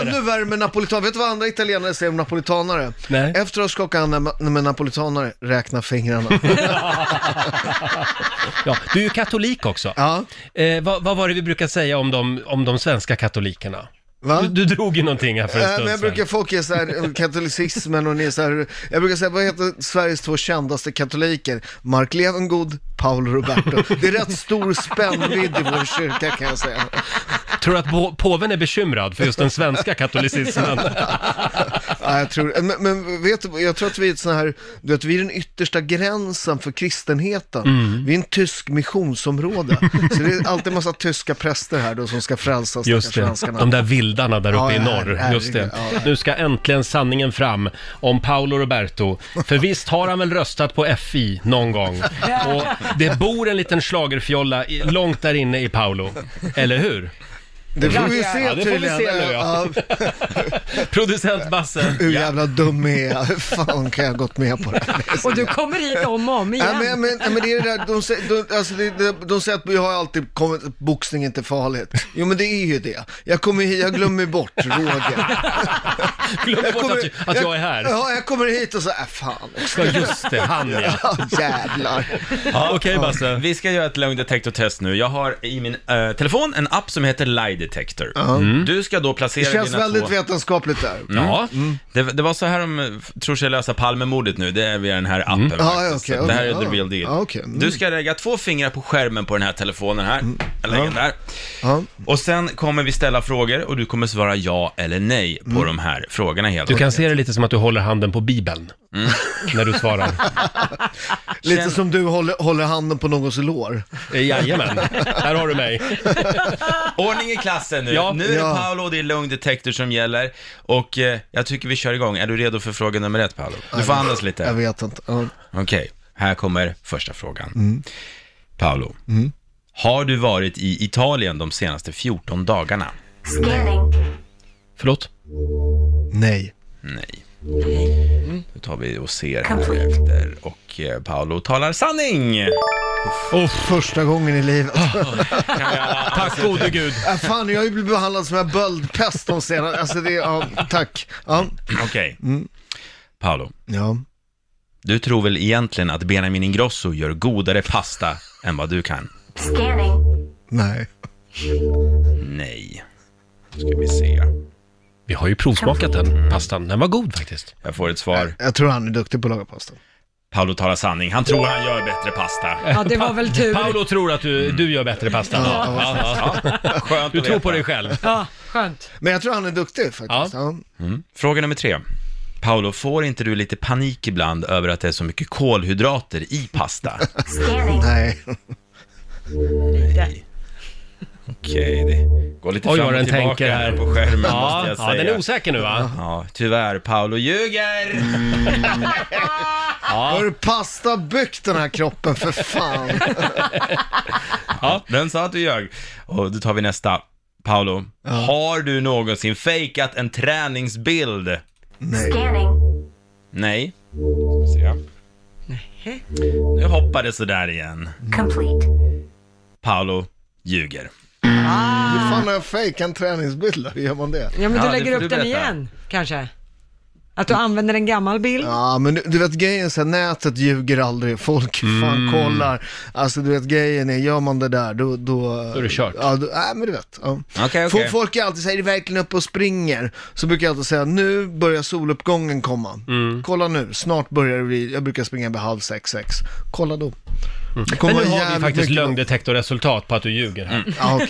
Ännu värre med napolitanare. Vet du vad andra italienare säger om napolitanare? Nej. Efter att ha skakat hand med med napolitanare, räkna fingrarna. Eh, Ja, du är ju katolik också. Ja. Eh, vad, vad var det vi brukar säga om de, om de svenska katolikerna? Du, du drog ju någonting här för en Äh, men stund jag sedan. brukar folk är så här, eh, katolicismen och ni är så här, jag brukar säga, vad heter Sveriges två kändaste katoliker? Mark Levengood, Paolo Roberto. Det är rätt stor spännvidd i vår kyrka kan jag säga. Tror du att på, påven är bekymrad för just den svenska katolicismen? Ja, jag tror, men, men vet du, jag tror att vi är ett sån här, du vet, vi är den yttersta gränsen för kristenheten. Mm. Vi är en tysk missionsområde. så det är alltid en massa tyska präster här då som ska frälsa Just stackars det, de där vildarna där uppe Ja, i ja, norr. herregud, Just det. ja. Nu ska äntligen sanningen fram om Paolo Roberto. För visst har han väl röstat på FI någon gång? Och det bor en liten schlagerfjolla i- långt där inne i Paolo. Eller hur? Det får vi ju se ja, det får vi tydligen. se nu ja. Producent Basse. Hur jävla dum är jag? Hur fan kan jag ha gått med på det här? Och du kommer hit om och om igen. Ja, men, men, ja, men det är det där, de, säger- de, alltså det, de, de säger att jag har alltid kommit, att boxning är inte farligt. Jo men det är ju det. Jag, kommer, hit- jag glömmer bort Roger. Glöm bort att, du- att jag är här. Ja, jag kommer hit och så, äh, fan också. Ja, just det, han ja. jävlar. Ja, Okej Basse. Vi ska göra ett lögndetektortest nu. Jag har i min eh, telefon en app som heter Lie Detector. Ja. Mm. Du ska då Det placera känns dina väldigt två... vetenskapligt där. Mm. Ja. Det, det var så här de eh, tror sig lösa Palmemordet nu, det är via den här appen Mm. Ja, faktiskt. ja, okej, Så Det här okej, är the ja. real deal. Ja, okej. Mm. Du ska lägga två fingrar på skärmen på den här telefonen här. Jag lägger den där. Och sen kommer vi ställa frågor och du kommer svara ja eller nej på Mm. de här frågorna helt Du kan se det lite som att du håller handen på bibeln när du svarar. Lite som du håller, håller handen på någons lår. Eh, Jajamän, där har du mig. Ordning i klassen nu. Ja. Nu är det Ja. Paolo och det är lögndetektor som gäller. Och eh, jag tycker vi kör igång. Är du redo för fråga nummer ett Paolo? Du får andas lite. Jag vet inte. Ja. Okej, här kommer första frågan. Mm. Paolo, Mm. har du varit i Italien de senaste 14 dagarna? Förlåt? Nej. Nej. Då tar vi och ser här efter och eh, Paolo talar sanning. Och första gången i livet. Tack gode gud. Ja, fan, jag har ju blivit behandlad som en böldpest de senaste... Alltså det, ja, tack. Ja. Okej. Paolo, Mm. ja. du tror väl egentligen att Benjamin Ingrosso gör godare pasta än vad du kan? Scanning. Nej. Nej. Ska vi se. Vi har ju provsmakat den pastan. Den var god faktiskt. Jag får ett svar. Jag tror han är duktig på att laga pasta. Paolo talar sanning. Han tror han gör bättre pasta. Ja, det var väl tur. Paolo tror att Mm. du, du gör bättre pasta. Ja, Ja, skönt att Du tror veta. på dig själv. Ja, skönt. Men jag tror han är duktig faktiskt. Ja. Mm. Fråga nummer tre. Paolo, får inte du lite panik ibland över att det är så mycket kolhydrater i pasta? Scanning. Nej. Okej, det går lite Oj, fram vad och den tillbaka tänker här här. på skärmen måste Ja, jag ja, säga. den är osäker nu va? Mm. Ja, tyvärr, Paolo ljuger! Har du pasta byggt den här kroppen för fan? Ja, den sa att du ljög. Och då tar vi nästa. Paolo, har du någonsin fejkat en träningsbild? Nej. Scanning. Nej. Ska vi se. Nu hoppar det sådär igen. Complete. Paolo ljuger. Hur fan har jag fejkat en träningsbild? Hur gör man det? Ja, men Ja, du det lägger får upp du den berätta. igen, kanske? Att du använder en gammal bild? Mm. Ja, men du, du vet grejen så här, nätet ljuger aldrig. Folk Mm. fan kollar. Alltså du vet grejen är, gör man det där då... Då, då är det kört. Ja, då, nej men du vet. Ja. Okej, okej. Fol- Folk är alltid säger är det verkligen uppe och springer? Så brukar jag alltid säga, nu börjar soluppgången komma. Mm. Kolla nu, snart börjar det bli, jag brukar springa vid halv sex, sex. Kolla då. Det kommer Men nu vara har vi jävligt faktiskt mycket- Mm. lögndetektorresultat på att du ljuger här. Ja, okej.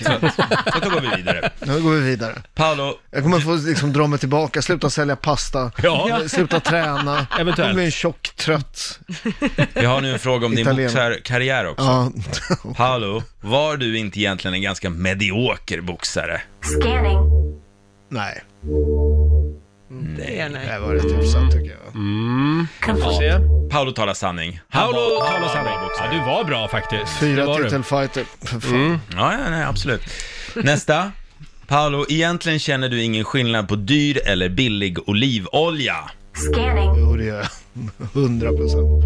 Så då går vi vidare. Nu går vi vidare. Paolo, Jag kommer få liksom dra mig tillbaka, sluta sälja pasta, Ja. sluta träna, Eventuellt. jag blir en tjock, trött. vi har nu en fråga om din Italien. boxarkarriär också. Ja. Paolo, var du inte egentligen en ganska medioker boxare? Scanning. Nej, Det är nej. det var rätt hyfsat tycker jag. Får Complete. se. Paolo talar sanning. Paolo talar sanning. bra boxare. Ja, du var bra faktiskt. Det Fyra var du. Mm. titelfighter. För fan. Ja, ja, nej, absolut. Nästa. Paolo, egentligen känner du ingen skillnad på dyr eller billig olivolja. Scanning. Jo, det gör jag. Hundra procent.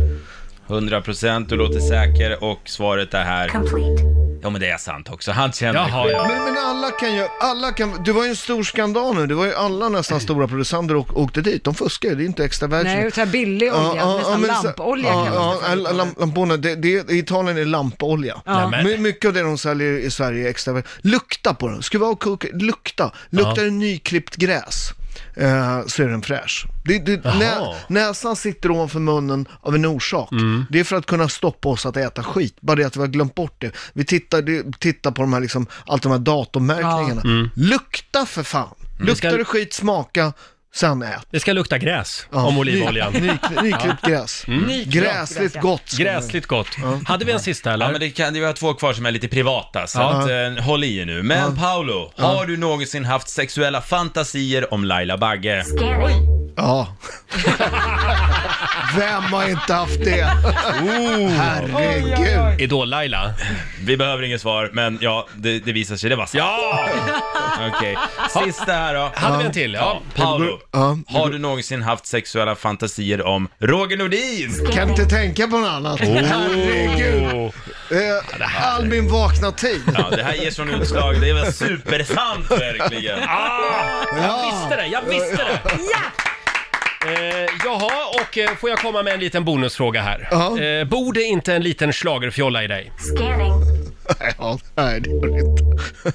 100% du låter säker och svaret är här. Complete. Ja men det är sant också, han känner Jaha, ja. Men, men alla kan ju, alla kan, du var ju en stor skandal nu, det var ju alla nästan stora producenter och åkte dit, de fuskar ju, det är inte extra virgin. Nej, så här billig olja, nästan men så- lampolja ja, kallas det ja, för. ja, lamp- lampolja, det, det, I Italien är det lampolja. Ja. Nämen. My, mycket av det de säljer i Sverige är extra virgin. Lukta på den, skruva av koka, lukta. Luktar det nyklippt gräs eh, så är den fräsch. Det, det, Jaha. nä, näsan sitter ovanför munnen av en orsak. Mm. Det är för att kunna stoppa oss att äta skit. Bara det att vi har glömt bort det. Vi tittar, det, tittar på de här, liksom, allt de här datummärkningarna. Mm. Lukta för fan. Luktar Ska- det skit, smaka, sen ät. Det ska lukta gräs Ja. om olivoljan. Ny- ny- Nyklippt gräs. Mm. Gräsligt gräs, ja. gott. ska Gräsligt gott. Hade vi en sista Ja eller? men det kan, vi har två kvar som är lite privata, så att, eh, håll i er nu. Men Paolo, har du någonsin haft sexuella fantasier om Laila Bagge? Scanning. man- Ja. Vem har inte haft det? Oh. Herregud. Idol-Laila. Vi behöver inget svar, men ja, det, det visar sig, det var sant. Ja! Okej, sista här då. Hade vi en till? Ja. Paolo, Ja. har du någonsin haft sexuella fantasier om Roger Nordin? Kan inte tänka på något annat. Oh. Herregud. Oh. Eh, all min vakna tid. Ja, det här ger sån utslag, det var supersant verkligen. Ah! Jag Ja. visste det, jag visste det! Eh, jaha, och eh, får jag komma med en liten bonusfråga här? Ja. Eh, borde inte en liten schlagerfjolla i dig? Scanning. Ja, nej, det gör det inte.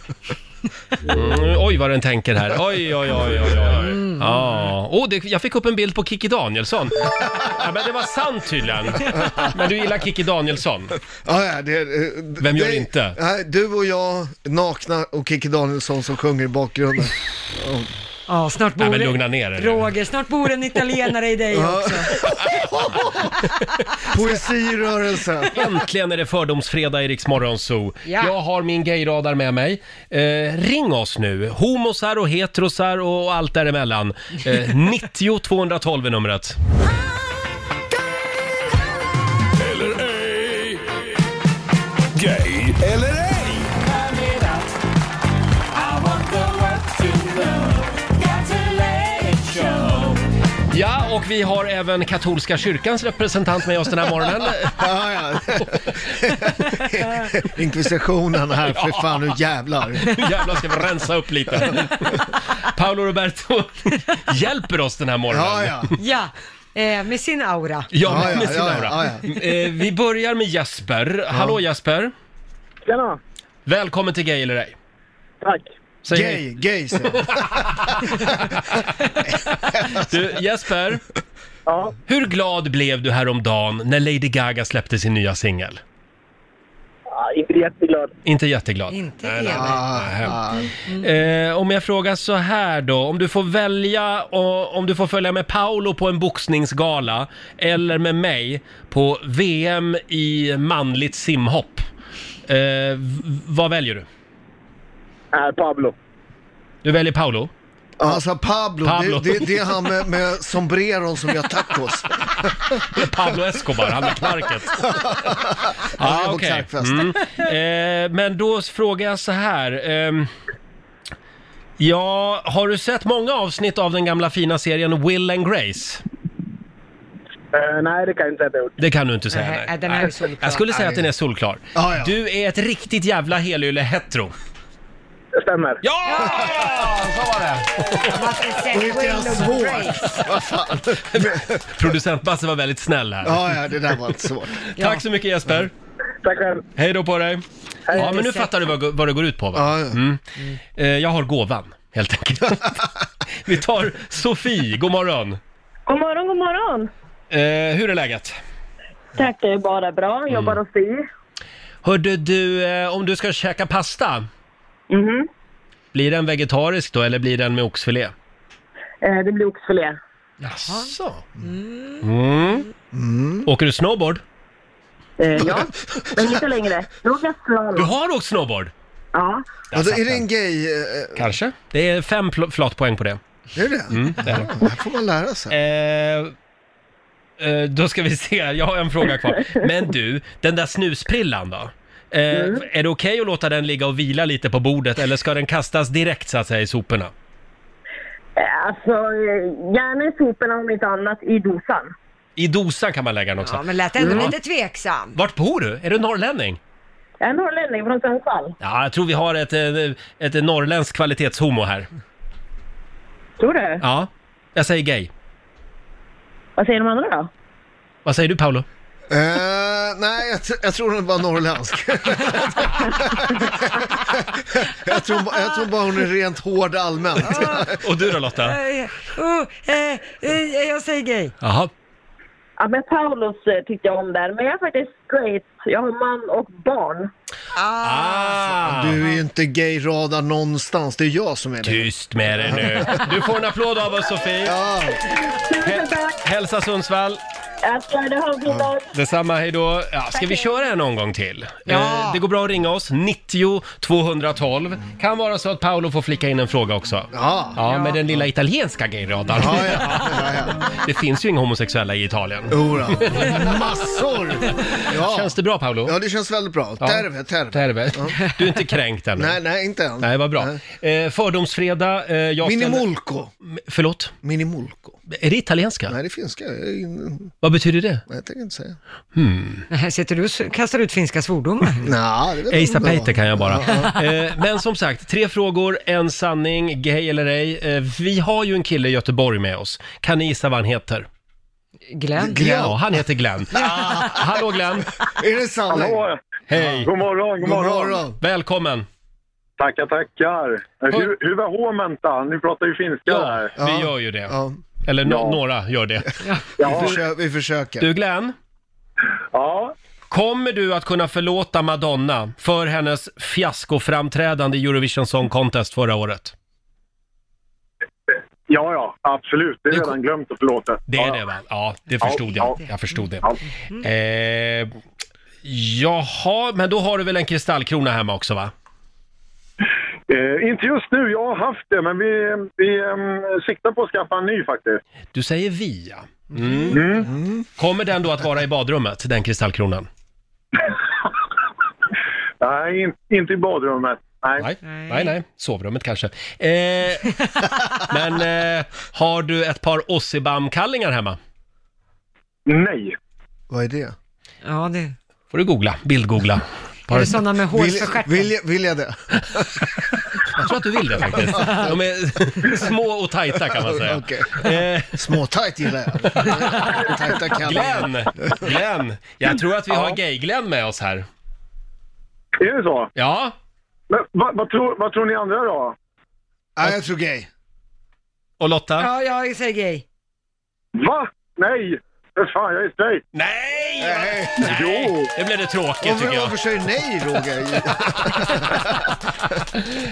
Mm, oj, vad den tänker här. Oj, oj, oj, oj, oj. Ja. Åh, det, jag fick upp en bild på Kikki Danielsson. Ja, men det var sant tydligen. Men du gillar Kikki Danielsson. Ja, ja, det, eh, d- Vem gör det- inte? Nej, du och jag, nakna och Kikki Danielsson som sjunger i bakgrunden. Ja, snart bor Nej, men en- lugna ner er. Roger, snart bor en italienare i dig också. Poesi i rörelse. Äntligen är det fördomsfredag i Riks Morgonzoo. Ja. Jag har min gayradar med mig. Eh, ring oss nu, homosar och heterosar och allt däremellan. Eh, 90 212 är numret. Eller ej. Gay eller ej. I want the world to know. Got to let it show. och vi har även katolska kyrkans representant med oss den här morgonen. ja, ja. Inkvisitionen här, för fan nu jävlar. Nu jävlar ska vi rensa upp lite. Paolo Roberto hjälper oss den här morgonen. Ja, ja. Ja, eh, med sin aura. Ja, med sin aura. Eh, Vi börjar med Jesper. Hallå Jesper! Tjena! Välkommen till Gay eller ej. Tack! Säg Gay, hej. gay säger Du, Jesper! Ja. Hur glad blev du häromdagen när Lady Gaga släppte sin nya singel? Ah, inte jätteglad. Inte jätteglad. Ah, Inte Ah. Äh. Eh, om jag frågar så här då, om du får välja och, om du får följa med Paolo på en boxningsgala eller med mig på VM i manligt simhopp. Eh, v- vad väljer du? Äh, Pablo. Du väljer Paolo? Alltså Pablo, Pablo. Det, det, det är han med, med sombreron som gör tacos. Pablo Escobar, han med knarket. Ah, Ja, på okej. Mm. knarkfest. Mm. Eh, men då frågar jag så här. ehm, ja, har du sett många avsnitt av den gamla fina serien Will and Grace? Eh, nej, det kan jag inte säga. Det kan du inte säga. Nej, nej. den är Nej. ju solklar. Jag skulle säga Nej. att den är solklar. Ja, ja. Du är ett riktigt jävla helylle-hetero. Det stämmer. Ja! Så var det. Och inte ens svårt. Vad fan. Producent Basse var väldigt snäll här. Ja, ja, det där var inte svårt. Tack så mycket Jesper. Tack själv. Hej då på dig. Hej. Ja, men nu fattar du vad, vad det går ut på va? Mm. Eh, Jag har gåvan, helt enkelt. Vi tar Sofie, god morgon. God morgon, god morgon. Eh, hur är läget? Tack, det är bara bra. Mm. Jobbar hos Vi. Hörde du, eh, om du ska käka pasta, Mhm. blir den vegetarisk då eller blir den med oxfilé? Eh, det blir oxfilé. Jaså? Mm. Åker du snowboard? Eh, ja, men inte längre. Jag åker slalom. Du har åkt snowboard? Ja. Där Alltså, satt är det en gay... Kanske. Det är fem pl- flatpoäng på det. Är det Mm, det är det. Eh. Ja, här får man lära sig. Eh, eh, då ska vi se, jag har en fråga kvar. Men du, den där snusprillan då? Eh, Mm. Är det okej att låta den ligga och vila lite på bordet eller ska den kastas direkt så att säga i soporna? Eh, Alltså, eh, gärna i soporna om inte annat i dosan. I dosan kan man lägga den också. Mm. Ja, men lät ändå Mm. lite tveksam. Vart bor du? Är du norrlänning? Jag är norrlänning från Sundsvall. Ja, jag tror vi har ett, ett, ett eh, norrländskt kvalitetshomo här. Mm. Tror du? Ja, jag säger gay. Vad säger de andra då? Vad säger du Paolo? Eh, nej, jag, tr- jag tror hon var norrländsk. jag, tror, ba- jag tror bara hon är rent hård allmänt. Och du då Lotta? Eh, oh, eh, eh, jag säger gay. Jaha. Ja, men Paulus eh, tyckte jag om där, men jag är faktiskt straight. Jag har man och barn. Ah. Ah. Du är ju inte gay-radar någonstans, det är jag som är det. Tyst med dig nu. Du får en applåd av oss Sofie. Ja. Hälsa Sundsvall. Jag ska det har blivit dag. Detsamma, hej då. Ja, ska vi köra en omgång till? Ja. Eh, det går bra att ringa oss, 90 212. Kan vara så att Paolo får flicka in en fråga också. Ja. ja med den lilla italienska gayradarn. Ja, Det finns ju inga homosexuella i Italien. Jodå. Massor! Ja. Känns det bra Paolo? Ja, det känns väldigt bra. Ja. Terve, terve. Terve. Du är inte kränkt ännu? Nej, nej, inte än. Nej, vad bra. Eh, fördomsfredag. Eh, jag ställer- Minimolko. M- Förlåt? Minimolko. Är det italienska? Nej, det är finska. Jag, är in- Vad betyder det? jag tänker inte säga. Hmm. Här sitter du och s- kastar ut finska svordomar. Mm. Nej, det vet jag Asa inte. Peter kan jag bara. Eh, Men som sagt, tre frågor, en sanning, gay eller ej. Eh, Vi har ju en kille i Göteborg med oss. Kan ni gissa vad han heter? Glenn? Ja, han heter Glenn. Ah, Hallå Glenn! Är det sanning? Hallå! Hej! God morgon, god, morgon. Välkommen! Tackar, tackar. Eh, Hur, hur var håmenta? Ni pratar ju finska Ja, där. vi gör ju det. Eller no- några gör det. Vi, försö- vi försöker. Du Glenn? Ja? Kommer du att kunna förlåta Madonna för hennes fiaskoframträdande i Eurovision Song Contest förra året? Ja, ja, absolut. Det är redan glömt och förlåtet. Det är det va? Ja, det förstod jag. Jag förstod det. Eh, jaha, men då har du väl en kristallkrona hemma också va? Eh, inte just nu, jag har haft det, men vi, vi ehm, siktar på att skaffa en ny faktiskt. Du säger vi ja. Mm. Kommer den då att vara i badrummet, den kristallkronan? Nej, in, inte i badrummet. Nej. Nej, nej. Sovrummet kanske. Eh, men eh, har du ett par Ossibam-kallingar hemma? Nej. Vad är det? Ja, det... får du googla, bildgoogla. Är det sådana med hår Vill- för stjärten? Vill jag, vill jag det? Jag tror att du vill det faktiskt. De är små och tajta kan man säga. Okej. Eh. Små tajt gillar jag. Tajta kallingar. Glenn, Glenn, jag tror att vi har Gay-Glenn med oss här. Är det så? Ja. Men, vad, vad, tror, vad tror ni andra då? Nej, jag tror gay. Och Lotta? Ja, jag säger gay. Va? Nej! För fan, jag är straight. Nej! Nej. Jo! Det blev det tråkigt tycker jag. Varför säger du nej, Roger? Eh.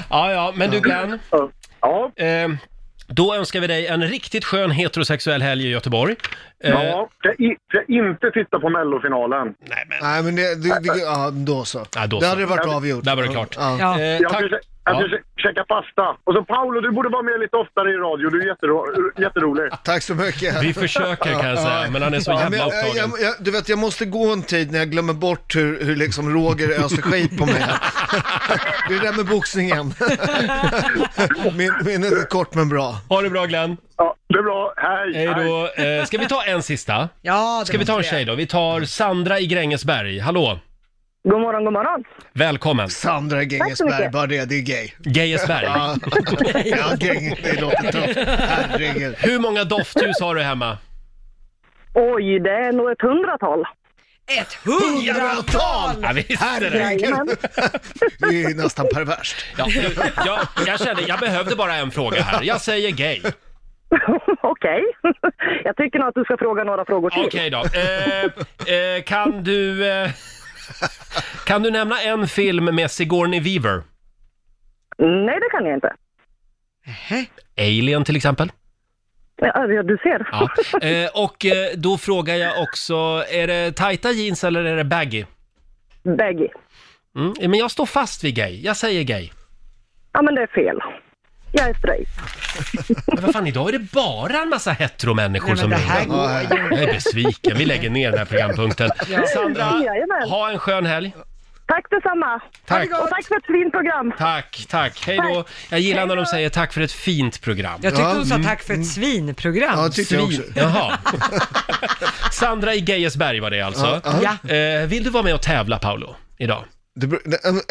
Ja, ja, men du Glenn. Ja. Eh, då önskar vi dig en riktigt skön heterosexuell helg i Göteborg. Eh, Ja, ska, i, ska inte titta på mellofinalen. Nej men. Nej, men det, det, det, ja, då så. Ja, då det så. hade varit avgjort. Ehm, Där var det klart. Ja. Ja. Eh, jag tack. ska, kä- jag ska Ja. kä- käka pasta. Och så Paolo, du borde vara med lite oftare i radio. Du är jättero, jätterolig. Tack så mycket. Vi försöker, kan jag säga, men han är så jävla jag- upptagen. eh, Jag, jag, du vet, jag måste gå en tid när jag glömmer bort hur, hur liksom Roger öser skit på mig. det är det där med boxningen. Min, minnet är kort men bra. Ha det bra Glenn. Ja, det är bra. Hej! Hej då. Eh, ska vi ta en sista? Ja, Ska vi ta en tjej då? Vi tar Sandra i Grängesberg. Hallå! God morgon, god morgon. Välkommen! Sandra Grängesberg, mycket. bara det, det är gay. Grängesberg. Ja, ja gäng, det låter tufft. Herregud. Hur många dofthus har du hemma? Oj, det är nog ett hundratal. Ett hundratal! Ja, visst är det. Jajamän. Det är nästan perverst. Ja, nu- jag, jag kände, jag behövde bara en fråga här. Jag säger gay. Okej. Jag tycker nog att du ska fråga några frågor till. Okej då. Eh, eh, kan du... Eh, kan du nämna en film med Sigourney Weaver? Nej, det kan jag inte. Alien till exempel? Ja, ja, du ser. Ja. Eh, och eh, då frågar jag också, är det tajta jeans eller är det baggy? Baggy. Mm, men jag står fast vid gay. Jag säger gay. Ja, men det är fel. Jag är straight. Men vad fan, idag är det bara en massa heteromänniskor som det här ringer. Jag är besviken. Vi lägger ner den här programpunkten. Sandra, Jajamän. ha en skön helg. Tack detsamma. Tack. Ha det gott. Och tack för ett fint program. Tack, tack. Hej då. Jag gillar när de säger tack för ett fint program. Mm. Jag tyckte hon sa tack för ett svinprogram. mm, Ja, tyckte jag också. Jaha. Sandra i Geijersberg var det alltså. Ja, Eh, vill du vara med och tävla, Paolo, idag? Det beror-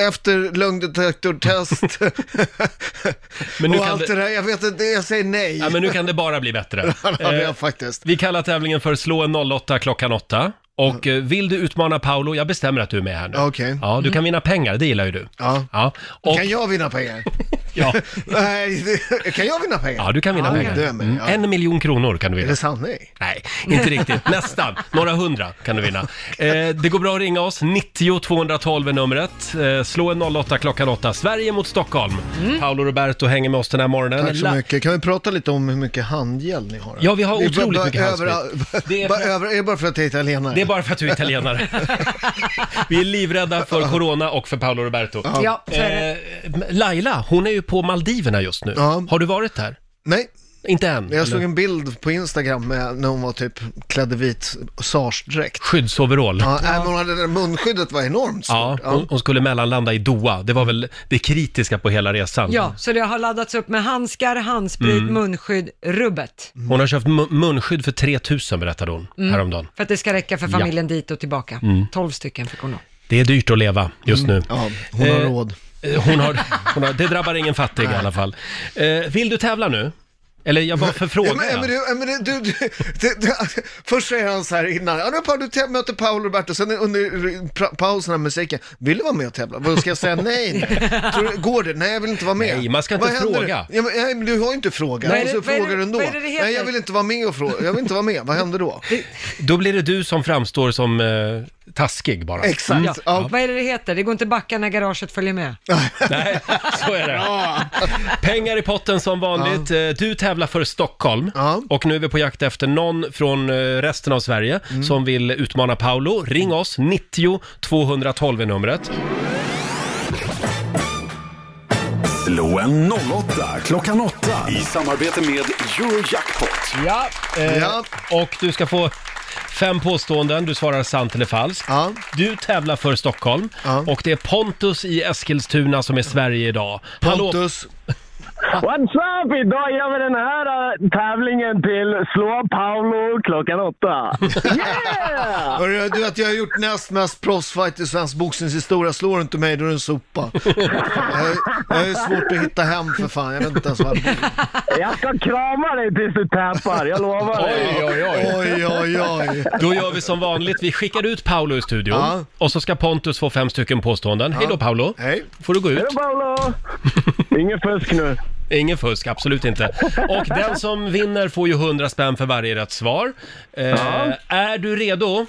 Efter lögndetektortest Men nu och kan allt det- det där, jag vet inte, jag säger nej. Ja, men nu kan det bara bli bättre. Ja, det är Eh, faktiskt. vi kallar tävlingen för Slå en 08 klockan 8. Och eh, vill du utmana Paolo, jag bestämmer att du är med här nu. Okej. Ja, du kan vinna pengar, det gillar ju du. Mm. Ja. Ja, och, Kan jag vinna pengar? ja, Nej, det- kan jag vinna pengar? ja du kan vinna Ja, pengar. det är jag med, Mm, ja. En miljon kronor kan du Är vinna. det sant? Nej. Nej, inte riktigt. Nästan. Några hundra kan du vinna. Eh, det går bra att ringa oss. 90 212 är numret. Eh, slå en 08 klockan 8. Sverige mot Stockholm. Paolo Roberto hänger med oss den här morgonen. Mm. Tack så La- mycket. Kan vi prata lite om hur mycket handgel ni har? Ja, vi har Det är otroligt bara- mycket handsprit. över- Det är- bara över- Är det bara för att jag är italienare? Det är bara för att du är italienare. Vi är livrädda för corona och för Paolo Roberto. Ja, så är det. Eh, Laila, hon är ju på Maldiverna just nu. Ja. Har du varit där? Nej, Inte än? jag såg eller? en bild på Instagram med när hon var typ klädd i vit sars-dräkt. Skyddsoverall. Ja, nej, men hon hade, det där munskyddet var enormt stort. Ja, hon, hon skulle mellanlanda i Doha. Det var väl det kritiska på hela resan. Ja, så det har laddats upp med handskar, handsprit, Mm. munskydd, rubbet. Hon har köpt mu- munskydd för 3000 berättade hon Mm. häromdagen. För att det ska räcka för familjen dit och tillbaka. Mm. 12 stycken fick hon då. Det är dyrt att leva just nu. Mm. Ja, hon har Eh, råd. Eh, Hon har, hon har, det drabbar ingen fattig i alla fall. Eh, vill du tävla nu? Eller jag var för Ja, men, ja, frågan. men, du, ja, men du, du, du, du, du, först säger han så här innan, ja, nu pa- du tä- möter Paolo Roberto, sen under pra- pausen av musiken, vill du vara med och tävla? Vad ska jag säga nej? nej. Tror, du- går det? Nej, jag vill inte vara med. Nej, man ska inte Vad händer? fråga. Ja, men, nej, men du har ju inte frågat, Vad är och så det- vad är frågar det- du ändå. vad är det det heter? nej, jag vill inte vara med och fråga, jag vill inte vara med. Vad händer då? Då blir det du som framstår som eh, taskig bara. Mm. Exakt. Ja. Mm. Ja. Vad är det det heter? Det går inte att backa när garaget följer med. Nej, så är det. Pengar i potten som vanligt. Eh, Du tävlar för Stockholm och nu är vi på jakt efter någon från eh, resten av Sverige som vill utmana Paolo. Ring oss, 90 212 är numret. Slå en 08 klockan 8. I samarbete med Eurojackpot. Ja, eh, Ja. och du ska få Fem påståenden, du svarar sant eller falskt. Du tävlar för Stockholm och det är Pontus i Eskilstuna som är Sverige idag. Pontus! What's up? Idag gör vi den här äh, tävlingen till Slå Paolo klockan åtta. Yeah! Hörru, du att jag har gjort näst mest proffsfight i svensk boxningshistoria. Slår du inte mig då är du en sopa. jag, jag har ju svårt att hitta hem för fan. Jag vet inte ens var jag bor. Jag ska krama dig tills du tappar, jag lovar dig. Oj, oj, oj. Då gör vi som vanligt, vi skickar ut Paolo ur studion Ja. och så ska Pontus få fem stycken påståenden. Hej då Paolo! Hej! får du gå ut. Hej då Paolo! Ingen fusk nu. Ingen fusk, absolut inte. Och den som vinner får ju 100 spänn för varje rätt svar. Eh, Ja. Är du redo?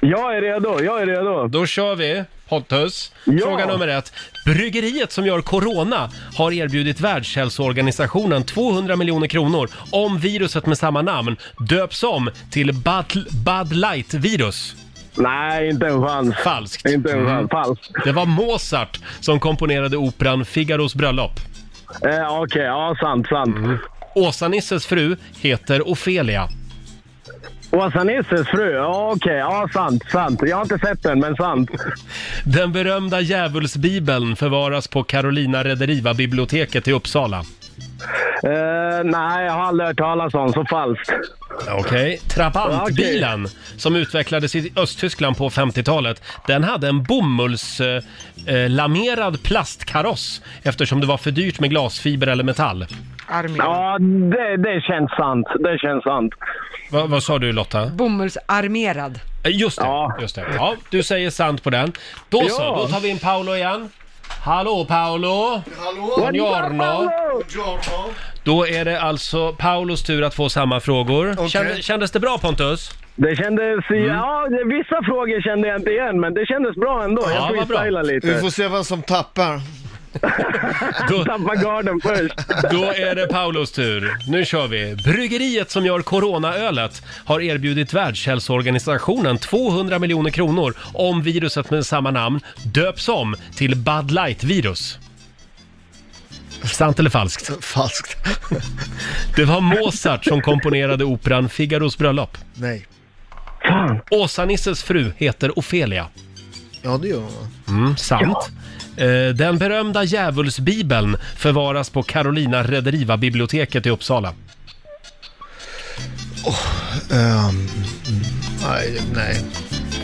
Jag är redo, jag är redo. Då kör vi, Pontus. Fråga nummer ett. Bryggeriet som gör Corona har erbjudit Världshälsoorganisationen 200 miljoner kronor om viruset med samma namn döps om till Bud, Bud Light-virus. Nej, inte en chans. Falskt. Inte en chans, falskt. Det var Mozart som komponerade operan Figaros bröllop. Eh, Okej, ja sant, sant. Åsa-Nisses fru heter Ofelia. Åsa-Nisses fru, ja, okej, ja sant, sant. Jag har inte sett den, men sant. Den berömda djävulsbibeln förvaras på Carolina Rederiva-biblioteket i Uppsala. Eh, nej, jag har aldrig hört talas om, så falskt. Okej. Trabantbilen, som utvecklades i Östtyskland på 50-talet, den hade en bomullslamerad eh, lamerad plastkaross eftersom det var för dyrt med glasfiber eller metall. Eh, Ja, det, det känns sant, det känns sant. Va, vad sa du Lotta? Bomullsarmerad. Eh, Just det, ja. just det. Ja, du säger sant på den. Då så, Ja. då tar vi in Paolo igen. Hallå Paolo! Buongiorno! Buongiorno. Då är det alltså Paulos tur att få samma frågor. Känd, kändes det bra Pontus? Det kändes, Mm. ja, det- vissa frågor kände jag inte igen, men det kändes bra ändå. Ja, jag vad bra. freestylade lite. Vi får se vem som tappar. Tappa garden först. Då är det Paulos tur. Nu kör vi. Bryggeriet som gör coronaölet har erbjudit Världshälsoorganisationen 200 miljoner kronor om viruset med samma namn döps om till Bud Light-virus. Sant eller falskt? Falskt. Det var Mozart som komponerade operan Figaros bröllop. Nej. Åsa-Nisses fru heter Ofelia. Ja, det gör hon va? Mm, sant. Eh, Den berömda djävulsbibeln förvaras på Carolina Rederiva-biblioteket i Uppsala. Ehm, nej, nej.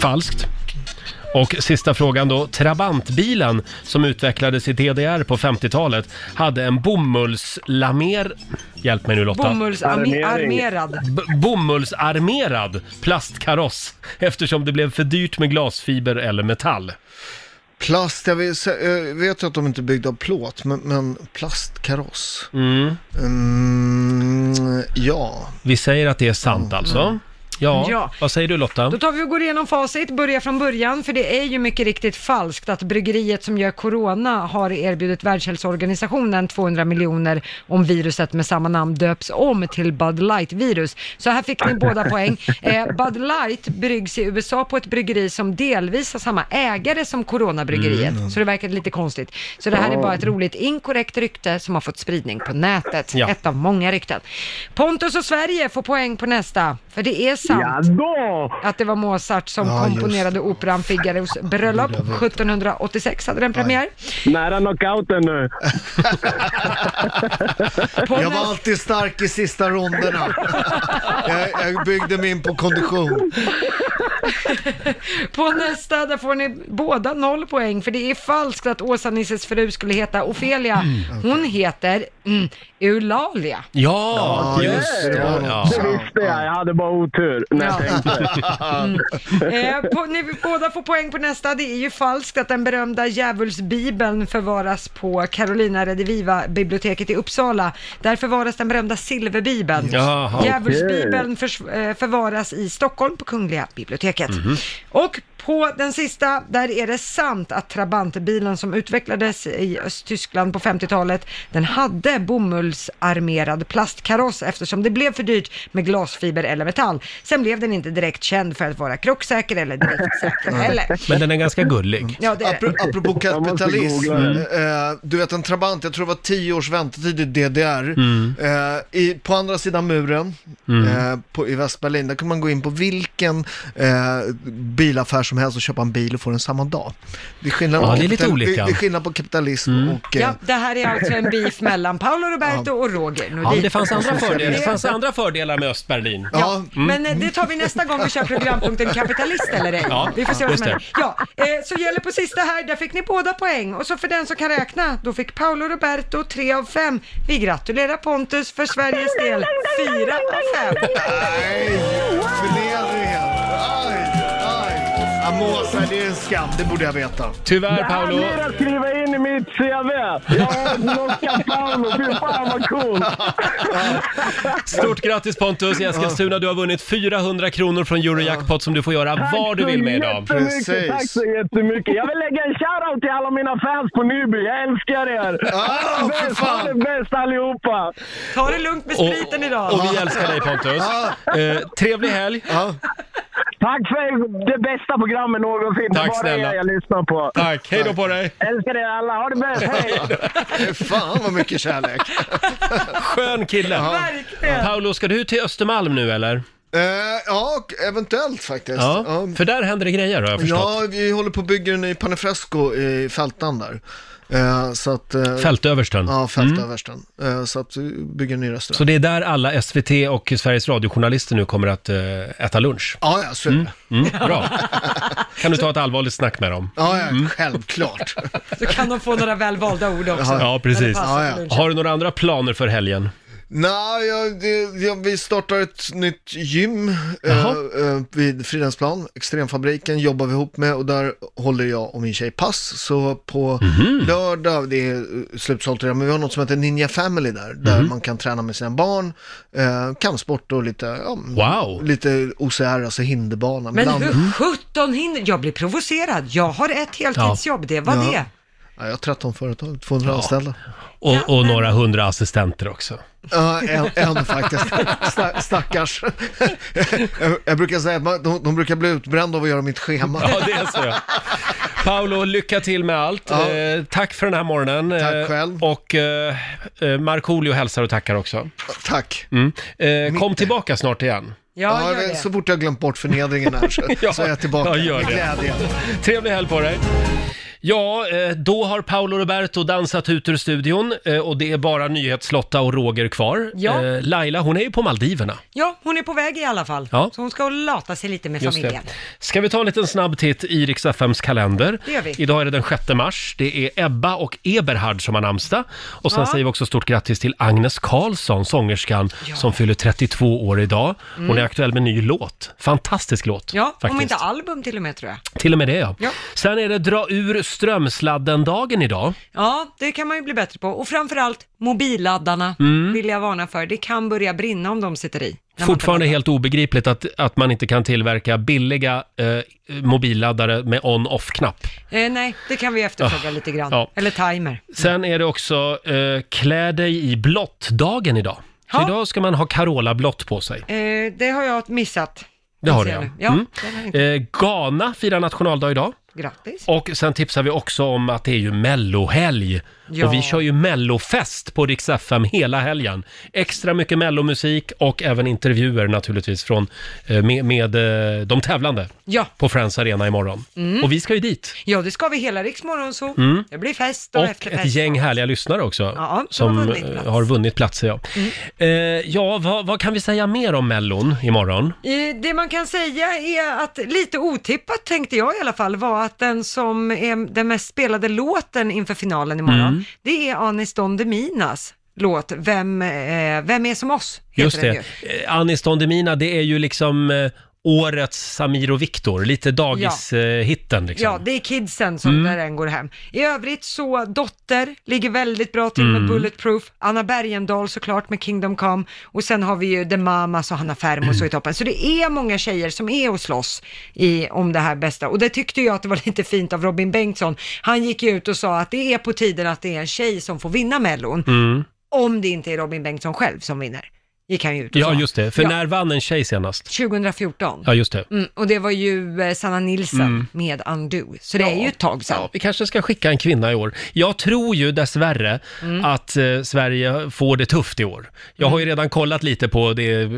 Falskt. Och sista frågan då. Trabantbilen som utvecklades i DDR på 50-talet hade en bomullslamer... Hjälp mig nu Lotta. Bomullsarmerad. B- bomullsarmerad plastkaross eftersom det blev för dyrt med glasfiber eller metall. Plast, jag vet, jag vet ju att de inte är byggda av plåt, men, men plastkaross. Mm. Mm, ja. Mm. Vi säger att det är sant alltså. Ja, Ja. vad säger du Lotta? Då tar vi och går igenom facit, börjar från början, för det är ju mycket riktigt falskt att bryggeriet som gör Corona har erbjudit Världshälsoorganisationen 200 miljoner om viruset med samma namn döps om till Bud Light-virus. Så här fick ni båda poäng. Eh, Bud Light bryggs i USA på ett bryggeri som delvis har samma ägare som Corona-bryggeriet, Mm. så det verkar lite konstigt. Så det här är bara ett roligt inkorrekt rykte som har fått spridning på nätet. Ja. Ett av många rykten. Pontus och Sverige får poäng på nästa, för det är sant att det var Mozart som Ja, just komponerade operan Figaros bröllop. 1786 hade den premiär. Nära knockouten nu. Jag var alltid stark i sista ronderna. Jag, jag byggde mig in på kondition. På nästa, där får ni båda noll poäng, för det är falskt att Åsa-Nisses fru skulle heta Ofelia. Hon heter mm, Eulalia. Ja, just det. Ja. Det visste jag, jag hade bara otur när jag Ja. tänkte. Mm. Eh, på, ni båda får poäng på nästa. Det är ju falskt att den berömda djävulsbibeln förvaras på Carolina Rediviva-biblioteket i Uppsala. Där förvaras den berömda silverbibeln. Jaha. Mhm. Djävulsbibeln förs- eh, förvaras i Stockholm på Kungliga biblioteket. Och På den sista, där är det sant att Trabantbilen som utvecklades i Östtyskland på 50-talet, den hade bomullsarmerad plastkaross eftersom det blev för dyrt med glasfiber eller metall. Sen blev den inte direkt känd för att vara krocksäker eller driftsäker heller. Men den är ganska gullig. Ja, det är Apro- det. Apropå kapitalism, Jag måste eh, du vet en Trabant, jag tror det var 10 års väntetid i DDR. Mm. Eh, i, på andra sidan muren Mm. eh, på, i Västberlin, där kan man gå in på vilken eh, bilaffär som helst och köpa en bil och få den samma dag. Det är skillnad, Ja, på, det är lite kapital- olika. Mm. Det, det är skillnad på kapitalism och... eh, Ja, det här är alltså en beef mellan Paolo Roberto och Roger Ja, men Nordin. det fanns andra fördelar, det Det- fanns andra fördelar med Östberlin. Ja, Mm. men eh, det tar vi nästa gång vi kör programpunkten Kapitalist eller ej. Ja, vi får se vad just som det. händer. Ja, eh, så gäller på sista här, där fick ni båda poäng. Och så för den som kan räkna, då fick Paolo Roberto 3 av 5. Vi gratulerar Pontus för Sveriges del 4 av 5. Nej, förnedringen. Aj, aj. Amosa, det är en skam, det borde jag veta. Tyvärr Det här blir att skriva in i mitt CV. Jag har knockat Paolo, fy fan vad coolt. Stort grattis Pontus i Eskilstuna, du har vunnit 400 kronor från Eurojackpot som du får göra vad du vill med idag. Tack så jättemycket, tack så jättemycket. Jag vill lägga en shoutout till alla mina fans på Nyby. Jag älskar er. Ha det bäst, ha det bäst allihopa. Ta det lugnt med spriten idag. Och vi älskar dig Pontus. Eh, trevlig helg! Tack för det bästa programmet någonsin. det Tack är bara snälla. er jag lyssnar på. Tack, hej då på dig! Älskar er alla, ha det bäst. Hej. Fan vad mycket kärlek. Skön kille! Verkligen. Paolo, ska du till Östermalm nu eller? Eh, ja, och eventuellt faktiskt. Ja, för där händer det grejer har jag förstått. Ja, vi håller på att bygga en ny Panifresco i Fältan där. Eh, så att, eh, Fältöversten. Ja, Mm. Fältöversten. Eh, så att vi bygger en ny restaurang. Så det är där alla SVT och Sveriges radiojournalister nu kommer att eh, äta lunch? Ja, ja, så är det. Mm. Mm. Bra. Kan du ta ett allvarligt snack med dem? Mm. Ja, ja självklart. Så kan de få några välvalda ord också. Ja, precis. Ja, ja. Har du några andra planer för helgen? Nej, jag, det, jag, vi startar ett nytt gym eh, Jaha. eh, vid Fridhemsplan. Extremfabriken jobbar vi ihop med och där håller jag och min tjej pass. Så på Mhm. lördag, det är eh, slutsålt redan, men vi har något som heter Ninja Family där. Där Mhm. man kan träna med sina barn, eh, kampsport och lite, ja, Wow. lite OCR, alltså hinderbana. Men blandat. hur sjutton hinner... Jag blir provocerad. Jag har ett heltidsjobb, det var Ja. det. Ja, jag har 13 företag, 200 anställda. Och, och några hundra assistenter också. Ja, en, en faktiskt. Sta- Stackars. Jag, jag brukar säga att man, de, de brukar bli utbrända av att göra mitt schema. Ja, det är så ja. Paolo, lycka till med allt. Ja. Eh, tack för den här morgonen. Tack själv. Och eh, eh, Markoolio hälsar och tackar också. Tack. Mm. Eh, kom tillbaka snart igen. Ja, gör jag- det. Så fort jag glömt bort förnedringen här så, så är jag tillbaka. Ja, gör Med glädje. det. Trevlig helg på dig. Ja, eh, då har Paolo Roberto dansat ut ur studion eh, och det är bara Nyhetslotta och Roger kvar. Ja. Eh, Laila, hon är ju på Maldiverna. Ja, hon är på väg i alla fall. Ja. Så hon ska lata sig lite med Just det. familjen. Ska vi ta en liten snabb titt i Rix FMs kalender? Det gör vi. Idag är det den 6 mars. Det är Ebba och Eberhard som har namnsdag. Och sen Ja. säger vi också stort grattis till Agnes Karlsson, sångerskan, som fyller 32 år idag. Hon Mm. är aktuell med ny låt. Fantastisk låt, Ja, om faktiskt. inte album till och med tror jag. Till och med det, ja. Ja. Sen är det dra ur strömsladden-dagen idag. Ja, det kan man ju bli bättre på. Och framförallt mobilladdarna Mm. vill jag varna för. Det kan börja brinna om de sitter i. När man Fortfarande helt obegripligt att, att man inte kan tillverka billiga eh, mobilladdare med on-off-knapp. tar- Eh, nej, det kan vi efterfråga Ah, lite grann. ja. Eller timer. Sen är det också eh, klä dig i blått-dagen idag. Så idag ska man ha Carola blått på sig. Eh, det har jag missat. Det har du Ser ja. nu. Ja, Mm. det har jag inte. Eh, Ghana firar nationaldag idag. Grattis. Och sen tipsar vi också om att det är ju mellohelg. Ja. Och vi kör ju mellofest på Rix FM hela helgen. Extra mycket mellomusik och även intervjuer naturligtvis från, eh, med, med eh, de tävlande Ja. på Friends Arena imorgon. Mm. Och vi ska ju dit. Ja, det ska vi hela riksmorgon så. Mm. Det blir fest och, Och efterfest. ett gäng härliga lyssnare också, Ja, som som har eh, vunnit plats. har vunnit platser. Ja, Mm. eh, ja vad, vad kan vi säga mer om Mellon imorgon? Eh, Det man kan säga är att lite otippat tänkte jag i alla fall var att den som är den mest spelade låten inför finalen imorgon, Mm. det är Anis Don Deminas låt Vem, eh, vem är som oss? heter Just den det. ju. Eh, Anis Don Demina, det är ju liksom eh, årets Samir och Viktor, lite dagishitten liksom. Ja, det är kidsen som Mm. där än går hem. I övrigt så, Dotter ligger väldigt bra till med Mm. Bulletproof, Anna Bergendahl såklart med Kingdom Come och sen har vi ju The Mamas och Hanna Ferm och Mm. så i toppen. Så det är många tjejer som är och slåss i, om det här bästa och det tyckte jag att det var lite fint av Robin Bengtsson. Han gick ju ut och sa att det är på tiden att det är en tjej som får vinna Mellon, Mm. om det inte är Robin Bengtsson själv som vinner. Gick han ju ut och Ja, sa. just det. För Ja. när vann en tjej senast? 2014. Ja, just det. Mm, och det var ju eh, Sanna Nilsson Mm. med Undo, så det är ju ett tag sedan. Ja, vi kanske ska skicka en kvinna i år. Jag tror ju dessvärre Mm. att eh, Sverige får det tufft i år. Jag har ju redan kollat lite på det eh,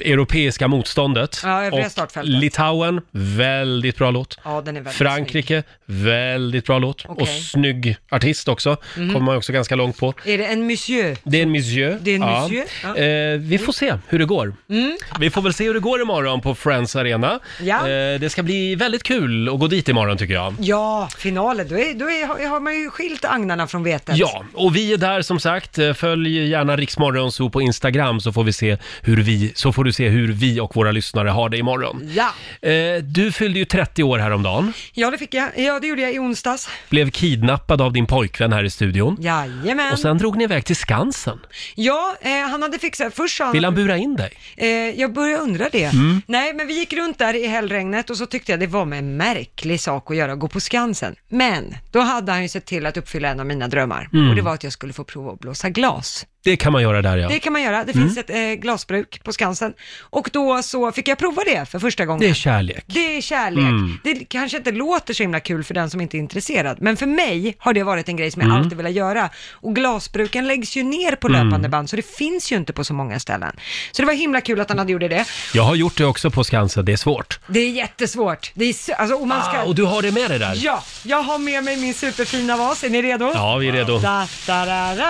europeiska motståndet. Ja, övriga och startfältet. Litauen, väldigt bra låt. Ja, den är väldigt Frankrike, väldigt bra låt. Okej. Och snygg artist också. Mm. Kommer man också ganska långt på. Är det en monsieur? Det är en monsieur. Det är en monsieur, ja. Eh, vi får se hur det går. Mm. Vi får väl se hur det går imorgon på Friends Arena. Ja. Eh, det ska bli väldigt kul att gå dit imorgon tycker jag. Ja, finalen, då, är, då är, har man ju skilt agnarna från vetet. Ja, och vi är där som sagt. Eh, Följ gärna Riksmorgonzoo på Instagram så får, vi se hur vi, så får du se hur vi och våra lyssnare har det imorgon. Ja. Eh, du fyllde ju 30 år häromdagen. ja, det fick jag. Ja, det gjorde jag i onsdags. Blev kidnappad av din pojkvän här i studion. Jajamän. Och sen drog ni iväg till Skansen. Ja, eh, han hade fixat, först sa Vill han bura in dig? Eh, jag börjar undra det. Mm. Nej, men vi gick runt där i hällregnet och så tyckte jag det var med en märklig sak att göra, gå på Skansen. Men då hade han ju sett till att uppfylla en av mina drömmar Mm. och det var att jag skulle få prova att blåsa glas. Det kan man göra där ja. Det kan man göra. Det Mm. finns ett eh, glasbruk på Skansen och då så fick jag prova det för första gången. Det är kärlek. Det är kärlek. Mm. Det kanske inte låter så himla kul för den som inte är intresserad, men för mig har det varit en grej som jag Mm. alltid velat göra. Och glasbruken läggs ju ner på Mm. löpande band, så det finns ju inte på så många ställen. Så det var himla kul att han hade gjort det. Jag har gjort det också på Skansen, det är svårt. Det är jättesvårt. Det är, s- alltså, och man ska... Ah, och du har det med dig där? Ja, jag har med mig min superfina vas. Är ni redo? Ja, vi är redo. Da, da, da,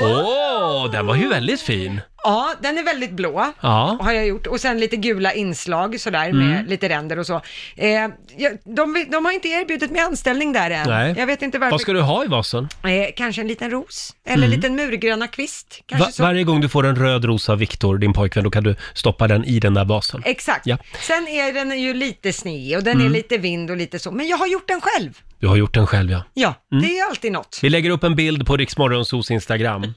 da. Åh, den var ju väldigt fin. Ja, den är väldigt blå. Ja. Har jag gjort. Och sen lite gula inslag sådär Mm. med lite ränder och så. Eh, jag- de, vill- de har inte erbjudit mig anställning där än. Nej. Jag vet inte varför. Vad ska du ha i vasen? Eh, kanske en liten ros. Eller en Mm. liten murgröna kvist. Kanske Va- så. varje gång du får en röd rosa Viktor, din pojkvän, då kan du stoppa den i den där vasen. Exakt. Ja, Sen är den ju lite sned och den är Mm. lite vind och lite så. Men jag har gjort den själv. du har gjort den själv ja. Ja, Mm. det är ju alltid något. Vi lägger upp en bild på Riksmorgonsos Instagram.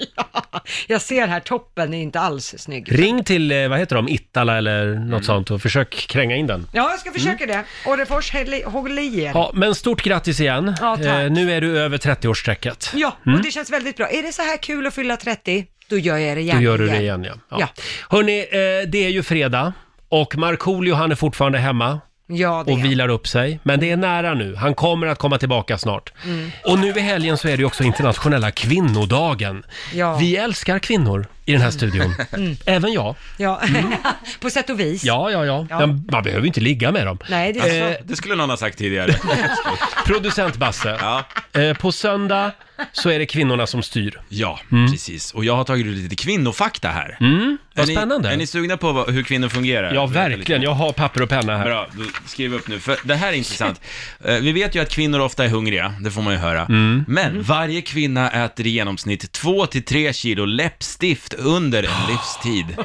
Jag ser här, toppen är inte alls snygg. Ring till, eh, vad heter de, Ittala eller något sånt och försök kränga in den. Mm. Ja, jag ska försöka det. Orrefors, häll- håll i er. Ja, men stort grattis igen. Eh, Ja, tack. nu är du över 30-årsstrecket. Ja, Mm. och det känns väldigt bra. Är det så här kul att fylla 30, då gör jag det igen. Då gör du det igen ja. ja. Ja. Hörni, eh, det är ju fredag och Markoolio han är fortfarande hemma. Ja, det är och vilar upp sig. Men det är nära nu. Han kommer att komma tillbaka snart. Mm. Och nu i helgen så är det ju också internationella kvinnodagen. Ja. Vi älskar kvinnor i den här studion. Mm. Även jag. Ja, på sätt och vis. Ja, ja, ja. Ja. Men man behöver ju inte ligga med dem. Nej, det är så. Eh, Eh, Det skulle någon ha sagt tidigare. Producent Basse. Eh, på söndag så är det kvinnorna som styr. Ja, precis. Och jag har tagit ut lite kvinnofakta här. Mm, vad är spännande. Ni, är ni sugna på vad, hur kvinnor fungerar? Ja, verkligen. Jag har papper och penna här. Bra, då skriv upp nu, för det här är intressant. Eh, Vi vet ju att kvinnor ofta är hungriga, det får man ju höra. Mm. Men varje kvinna äter i genomsnitt 2-3 kilo läppstift under en livstid.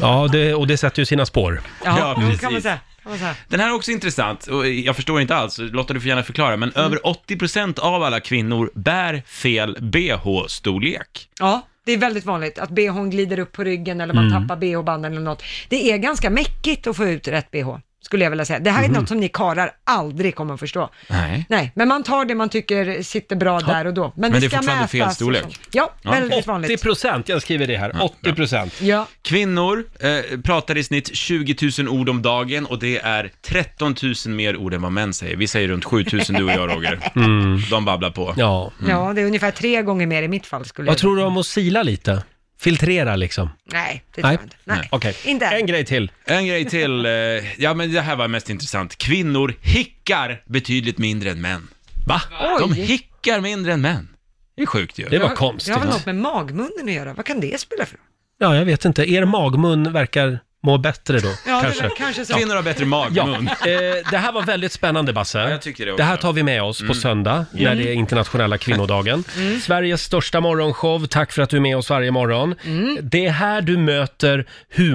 Ja, det, och det sätter ju sina spår. Ja, precis. kan man säga. Kan man säga. Den här är också intressant, och jag förstår inte alls, Lotta du får gärna förklara, men Mm. över 80% av alla kvinnor bär fel bh-storlek. Ja, det är väldigt vanligt att bhn glider upp på ryggen eller man Mm. tappar bh-banden eller något. Det är ganska mäckigt att få ut rätt bh, skulle jag vilja säga. Det här är Mhm. något som ni karar aldrig kommer att förstå. Nej. Nej, men man tar det man tycker sitter bra där och då. Men, Men det är ska fortfarande mätas fel och storlek. sånt. Ja, väldigt vanligt. 80 procent, jag skriver det här. 80 procent. Ja. Kvinnor eh, pratar i snitt 20 000 ord om dagen och det är 13 000 mer ord än vad män säger. Vi säger runt 7 000 du och jag Roger. De babblar på. Mm. Mm. Ja. Ja, det är ungefär tre gånger mer i mitt fall skulle Vad jag tror du om att sila lite? Filtrera liksom? Nej, det tror jag inte. Nej. Okej. Inte än. En grej till. En grej till, eh, ja men det här var mest intressant. Kvinnor hickar betydligt mindre än män. Va? De Oj. hickar mindre än män. Det är sjukt ju. har- Det har väl något med magmunnen att göra? Vad kan det spela för roll? Ja, jag vet inte. Er magmun verkar mår bättre då. Ja, det kanske. var kanske så. Kvinnor har bättre mag, Ja. mun. Eh, det här var väldigt spännande Basse. jag tycker det också. det här tar vi med oss på söndag när Mm. det är internationella kvinnodagen. Mm. Sveriges största morgonshow, tack för att du är med oss varje morgon. Mm. Det är här du möter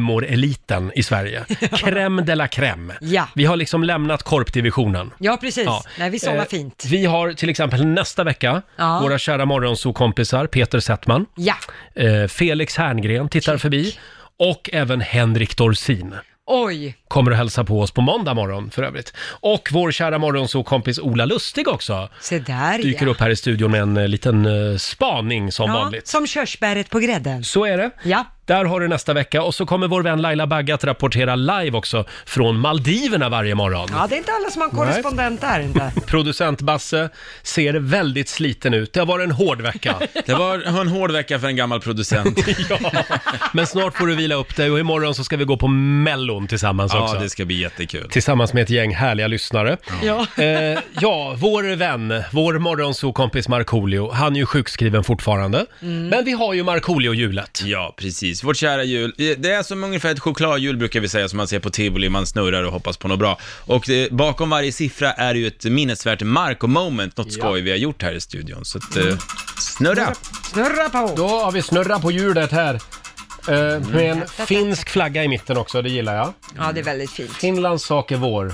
humoreliten i Sverige. Crème de la crème. Ja. Vi har liksom lämnat korpdivisionen. Ja, precis. Ja. Nej, vi sover Eh, fint. Vi har till exempel nästa vecka Ja. våra kära morgonsokompisar Peter Settman, Ja. eh, Felix Herngren tittar förbi och även Henrik Dorsin Oj. kommer att hälsa på oss på måndag morgon för övrigt. Och vår kära morgonsokompis Ola Lustig också Se där dyker ja. upp här i studion med en eh, liten eh, spaning som ja, vanligt. Som körsbäret på grädden. Så är det. Ja. Där har du nästa vecka och så kommer vår vän Laila Bagge att rapportera live också från Maldiverna varje morgon. Ja, det är inte alla som har en Nej. korrespondent där inte. Producent Basse ser väldigt sliten ut. Det har varit en hård vecka. Det var en hård vecka för en gammal producent. Men snart får du vila upp dig och imorgon så ska vi gå på Mellon tillsammans Ja, också. det ska bli jättekul. Tillsammans med ett gäng härliga lyssnare. Ja, eh, ja vår vän, vår morgonsokompis Markoolio, han är ju sjukskriven fortfarande. Mm. Men vi har ju Markoolio-hjulet. Ja, precis. Vårt kära jul. Eh, Det är som ungefär ett chokladhjul brukar vi säga som man ser på tivoli, man snurrar och hoppas på något bra. Och eh, bakom varje siffra är ju ett minnesvärt Marco-moment, något skoj vi har gjort här i studion. Så att, eh, snurra! Snurra på! Mm. Då har vi snurra på hjulet här. Eh, med en finsk flagga i mitten också, det gillar jag. ja det är väldigt fint. Mm. Finlands sak är vår. Och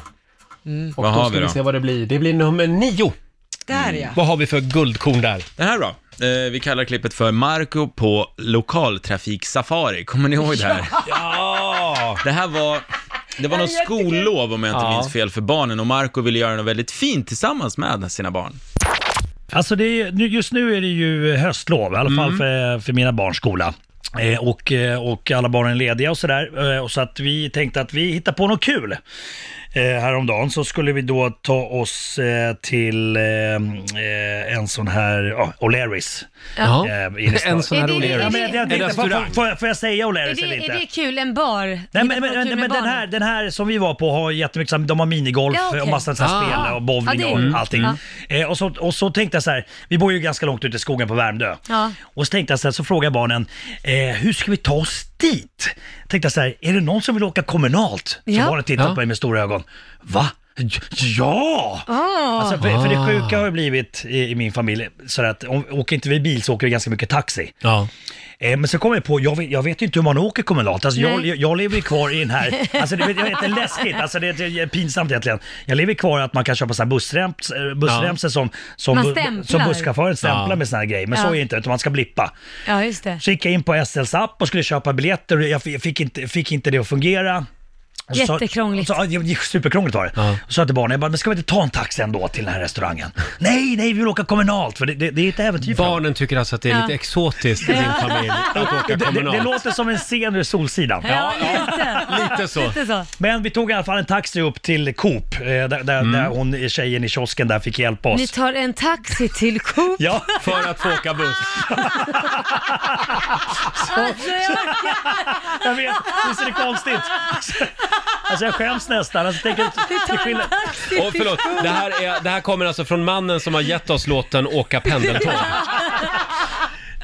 Vad då har ska vi vi då? se vad det blir. Det blir nummer nio. Där ja. Vad har vi för guldkorn där? Det här då? Eh, vi kallar klippet för Marco på lokaltrafiksafari. Kommer ni ihåg det här? Ja! Det här var... Det var något skollov om jag inte Ja. minns fel för barnen och Marco ville göra något väldigt fint tillsammans med sina barn. Alltså det är, nu- just nu är det ju höstlov, i alla Mm. fall för, för mina barns skola. Eh, Och, eh, och alla barnen är lediga och sådär. Eh, och Så att vi tänkte att vi hittar på något kul. Eh, Häromdagen så skulle vi då ta oss eh, till eh, eh, en sån här, ja, O'Learys. Ja. Eh, inne i stan. En sån här Är det- O'Learys. Ja, men jag- jag En tänkte, får- restaurang. Får, jag- får jag säga Är O'Learys eller det, inte? är det kul? En bar? Nej, Ni men, kan men, ha kul men med den, barnen. här, den här som vi var på har jättemycket, sam- de har minigolf Ja, okej. och massa så här Ah. spel och bowling Ja, det är- och Mm. allting. Ja. Eh, och, så, och så tänkte jag så här, vi bor ju ganska långt ute i skogen på Värmdö. Ja. Och så tänkte jag så här, så frågade jag barnen, eh, hur ska vi ta oss dit? Tänkte jag så här, är det någon som vill åka kommunalt? Så Ja. barnen tittade Ja. på mig med stora ögon. Va? J- Ja! Ah. Alltså, för, för det sjuka har ju blivit i, i min familj, så att om, åker inte vi bil så åker vi ganska mycket taxi. Eh, men så kom jag på, jag vet, jag vet ju inte hur man åker kommunalt. Alltså, jag, Nej. jag, jag lever ju kvar i den här, alltså det, jag vet, det är läskigt, alltså, det, är- det är pinsamt egentligen. Jag lever kvar i att man kan köpa så här bussrems, eh, bussremsor som, som, Man bu- stämplar. som busschauffören stämplar Ja. med såna här grejer. Men så Ja. är det inte, utan man ska blippa. Ja, just det. Så gick jag in på SLs app och skulle köpa biljetter och jag f- jag fick inte, fick inte det att fungera. Och så sa- Jättekrångligt. Så, ja, det gick superkrångligt var det. Och så sa jag till barnen, jag bara, men ska vi inte ta en taxi ändå till den här restaurangen? Nej, nej, vi vill åka kommunalt för det, det, det är ett äventyr. för dem. Barnen tycker alltså att det är Ja. lite exotiskt i din familj att Det, åka det, det kommunalt. låter som en scen ur Solsidan. Ja, lite. Lite så. Lite så. Men vi tog i alla fall en taxi upp till Coop, eh, där, där, Mm. där hon, tjejen i kiosken där fick hjälpa oss. Ni tar en taxi till Coop. Ja. För att få åka buss. Alltså, jag orkar. Jag vet, visst är det konstigt? Alltså, Alltså jag skäms nästan. Alltså, tänk, tar en taxi Och förlåt, det här, är, det här kommer alltså från mannen som har gett oss låten Åka pendeltåg.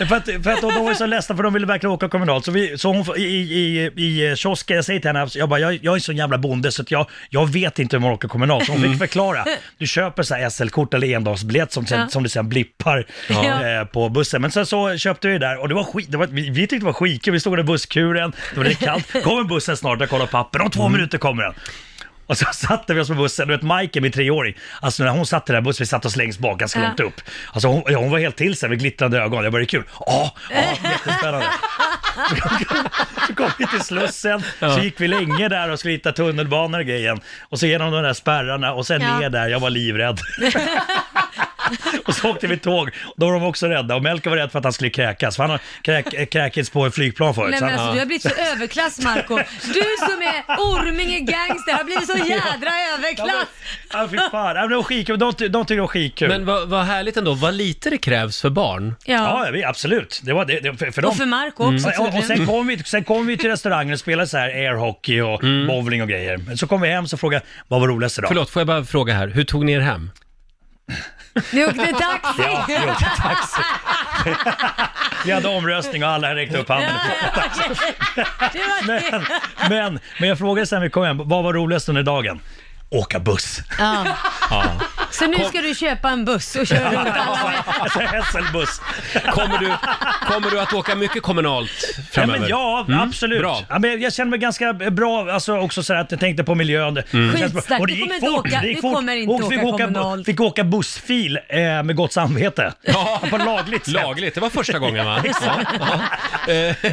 För att, för att de var ju så ledsna för de ville verkligen åka kommunalt. Så, vi, så hon får- i, i, i, i kiosken, jag säger till henne, alltså, jag bara, jag, jag är en sån jävla bonde så att jag, jag vet inte hur man åker kommunalt. Så hon fick Mm. förklara. Du köper så här SL-kort eller endagsbiljett som, sen, Ja. som du sen blippar Ja. eh, på bussen. Men sen så köpte vi det där och det var skit, det var, vi, vi tyckte det var skitkul. Vi stod där i busskuren, det var lite kallt. Kommer bussen snart? Jag kollar på appen, om två Mm. minuter kommer den. Och så satte vi oss på bussen, du vet Majken, min treåring, alltså när hon satt i den här bussen, vi satt oss längst bak, ganska Ja. långt upp. Alltså hon, ja, hon var helt till sig med glittrande ögon, jag bara det är kul. Ja, ja, jättespännande. Så kom vi till Slussen, så gick vi länge där och skulle hitta tunnelbanor och grejen. Och så genom de där spärrarna och sen Ja. ner där, jag var livrädd. och så åkte vi tåg, då var de också rädda. Och Melker var rädd för att han skulle kräkas, för han har kräk, kräkits på ett flygplan förut. Nej, så men han- alltså, du har blivit så överklass Marco. Du som är Orminge gangster har blivit så jädra överklass. Ja, fy fan. Ja, men det var skitkul. De, ty- de tyckte det var skitkul. Men vad, vad härligt ändå, vad lite det krävs för barn. Ja, vi- absolut. Det var det, det, för, för dem. Mm. Och för Marco också, Och, och, och sen, tydligen. kom vi, sen kom vi till restaurangen och spelade så här airhockey och bowling och grejer. Men Så kom vi hem och frågade vad var roligast idag? Mm. Förlåt, får jag bara fråga här, hur tog ni er hem? Ni åkte taxi. Ja, vi åkte taxi. Vi hade omröstning och alla räckte upp handen. Men, men, men jag frågade sen vi kom hem, vad var roligast under dagen? Åka buss. Ja. Ja. Så nu Kom- ska du köpa en buss och köra runt alla med. Alltså Hässelbuss. Kommer du, kommer du att åka mycket kommunalt Ja, framöver? men ja, Mm, absolut. Bra. Ja, men jag känner mig ganska bra, alltså också så här att jag tänkte på miljön. Det Mm. känns bra. Skitsnack, vi kommer inte åka- vi kommer inte Och fick åka bu- kommunalt. Fick åka bussfil eh, med gott samvete. Ja. På lagligt sätt. Lagligt, det var första gången va? Exakt. Eh,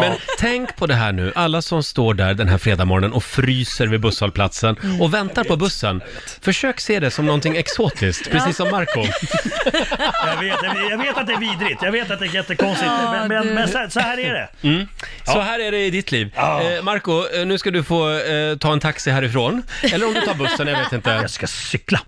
Men tänk på det här nu, alla som står där den här fredagmorgonen och fryser vid busshållplatsen Mm. och väntar på bussen. Försök se det som någonting exotiskt, precis som Marco Jag vet, jag vet- jag vet att det är vidrigt, jag vet att det är jättekonstigt, Ja, men, men, du. men så, här- så här är det. Mm. Så Ja. här är det i ditt liv. Eh, Marco, eh, nu ska du få eh, ta en taxi härifrån. Eller om du tar bussen, jag vet inte. Jag ska cykla.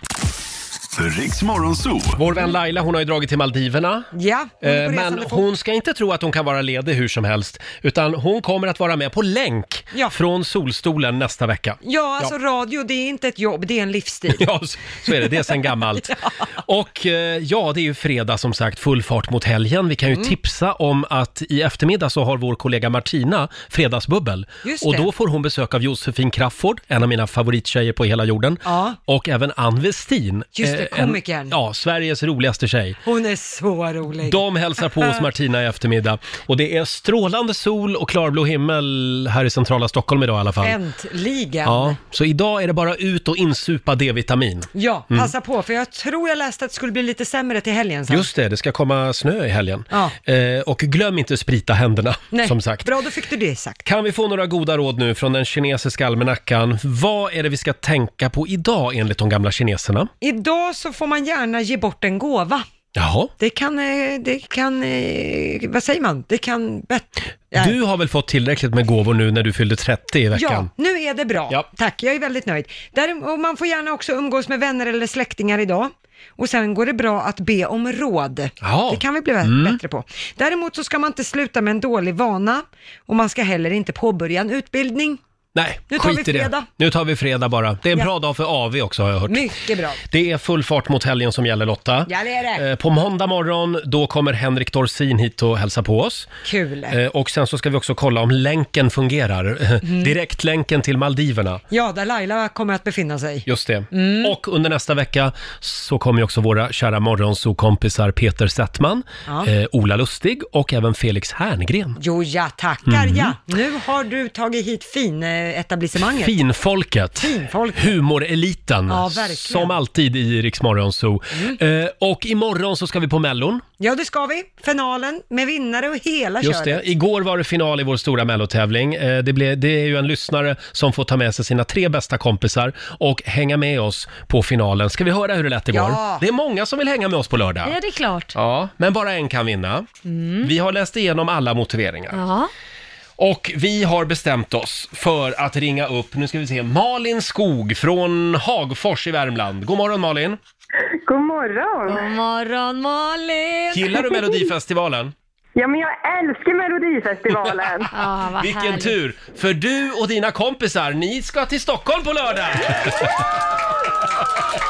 Riksmorgonzoo. Vår vän Laila, hon har ju dragit till Maldiverna. Ja, hon är Eh, på Men resande fot. hon ska inte tro att hon kan vara ledig hur som helst, utan hon kommer att vara med på länk från solstolen nästa vecka. Ja, alltså radio, det är inte ett jobb, det är en livsstil. Ja, så- så är det. Det är sen gammalt. Och eh, ja, det är ju fredag som sagt, full fart mot helgen. Vi kan ju Mm. tipsa om att i eftermiddag så har vår kollega Martina fredagsbubbel. Just och det. då får hon besök av Josefin Crafoord, en av mina favorittjejer på hela jorden. Ja. Och även Ann Westin. eh, Just det, en- komikern. Ja, Sveriges roligaste tjej. Hon är så rolig. De hälsar på hos Martina i eftermiddag. Och det är strålande sol och klarblå himmel här i centrala Stockholm idag i alla fall. Äntligen. Ja, så idag är det bara ut och insupa D-vitamin. Ja, Mm. passa på, för jag tror jag läste att det skulle bli lite sämre till helgen sen. Just det, det ska komma snö i helgen. Ja. Eh, och glöm inte sprita händerna, Nej, som sagt. Bra, då fick du det sagt. Kan vi få några goda råd nu från den kinesiska almanackan? Vad är det vi ska tänka på idag enligt de gamla kineserna? Idag så får man gärna ge bort en gåva. Jaha, Det kan, eh, det kan, eh, vad säger man? Det kan bättre. du har väl fått tillräckligt med gåvor nu när du fyllde 30 i veckan? Ja, nu är det bra. Tack, jag är väldigt nöjd. Där, och man får gärna också umgås med vänner eller släktingar idag. Och sen går det bra att be om råd. Ja. Det kan vi bli bä- Mm. bättre på. Däremot så ska man inte sluta med en dålig vana och man ska heller inte påbörja en utbildning. Nej, Nu tar skit vi i det. fredag. Nu tar vi fredag bara. Det är en Ja. bra dag för AV också har jag hört. Mycket bra. Det är full fart mot helgen som gäller Lotta. Ja, det är det. Eh, På måndag morgon, då kommer Henrik Dorsin hit och hälsa på oss. Kul. Eh, Och sen så ska vi också kolla om länken fungerar. Mm. Direktlänken till Maldiverna. Ja, där Laila kommer att befinna sig. Just det. Mm. Och under nästa vecka så kommer ju också våra kära morgonsokompisar Peter Settman, Ja. eh, Ola Lustig och även Felix Herngren. Jo, ja, tackar Mm. ja. Nu har du tagit hit finetablissemanget. Finfolket. Humoreliten. Ja, verkligen. Mm. som alltid i Rix Morgon Zoo. Eh, och imorgon så ska vi på Mellon. Ja, det ska vi. Finalen med vinnare och hela Just köret. det. Igår var det final i vår stora mellotävling. Eh, det, blev, det är ju en lyssnare som får ta med sig sina tre bästa kompisar och hänga med oss på finalen. Ska vi höra hur det lät igår? Ja. Det är många som vill hänga med oss på lördag. Ja, det är klart. Mm. Ja, men bara en kan vinna. Vi har läst igenom alla motiveringar. Ja. Och vi har bestämt oss för att ringa upp, nu ska vi se, Malin Skog från Hagfors i Värmland. God morgon Malin! God morgon! God morgon Malin! Gillar du Melodifestivalen? Ja, men jag älskar Melodifestivalen! ah, vad Vilken tur! För du och dina kompisar, ni ska till Stockholm på lördag!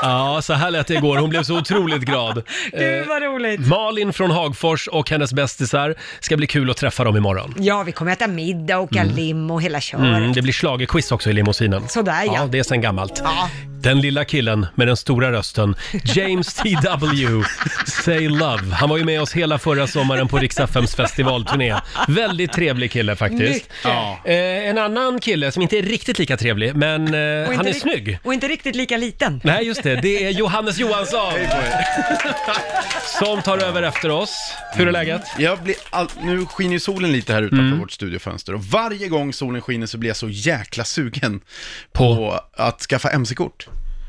ja, så här lät det igår. Hon blev så otroligt glad. Eh, Gud vad roligt! Malin från Hagfors och hennes bästisar. Ska bli kul att träffa dem imorgon. Ja, vi kommer äta middag och åka Mm. lim och hela köret. Mm, det blir schlagerquiz också i limousinen. Sådär, ja. Det är sen gammalt. Ja. Den lilla killen med den stora rösten, James T.W. Say Love. Han var ju med oss hela förra sommaren på Rix FMs festivalturné. Väldigt trevlig kille faktiskt. Mycket. Ja. Eh, en annan kille som inte är riktigt lika trevlig, men eh, Och han inte är rikt- snygg. Och inte riktigt lika liten. Nej, just det. Det är Johannes Johansson som tar över efter oss. Hur är läget? Mm. Jag blir all... Nu skiner ju solen lite här utanför vårt studiofönster och varje gång solen skiner så blir jag så jäkla sugen på, att skaffa MC-kort.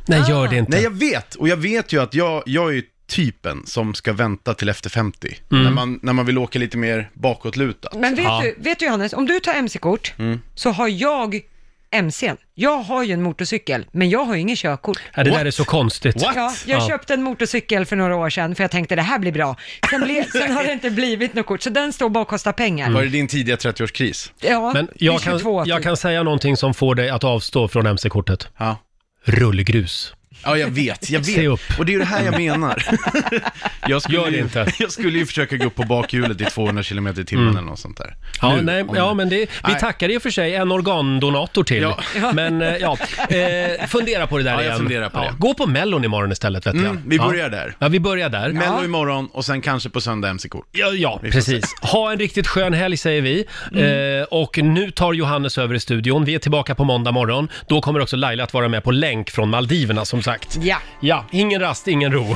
Nej, gör det inte. Nej, jag vet. Och jag vet ju att jag, jag är ju typen som ska vänta till efter 50. Mm. När, man, när man vill åka lite mer bakåtlutat. Men vet, du, vet du Johannes, om du tar mc-kort Mm. så har jag MCn. Jag har ju en motorcykel, men jag har ju ingen körkort. Ja, det där är så konstigt. Ja, jag köpte en motorcykel för några år sedan för jag tänkte det här blir bra. Sen, blev, sen har det inte blivit något kort, så den står bara och kostar pengar. Var det din tidiga 30-årskris? Ja, Men det är jag 22 kan, jag kan säga någonting som får dig att avstå från MC-kortet. Ja. Rullgrus. Ja, jag vet, jag vet. Se upp. Och det är ju det här jag menar. Jag skulle, Gör ju, inte. jag skulle ju försöka gå upp på bakhjulet i 200 km i timmen Mm. eller något sånt där. Ja, Nu, nej, om- ja, men det, vi Nej. tackar i och för sig en organdonator till. Men eh, ja, eh, fundera på det där Ja, jag igen. funderar på det. Gå på Mellon imorgon istället vet jag. Mm, vi Ja. börjar där. Ja, vi börjar där. Mello Ja. imorgon och sen kanske på söndag MC-kort. Ja, ja precis. Ha en riktigt skön helg säger vi. Mm. Eh, och nu tar Johannes över i studion. Vi är tillbaka på måndag morgon. Då kommer också Laila att vara med på länk från Maldiverna som sagt. Ja. Ja, ingen rast, ingen ro.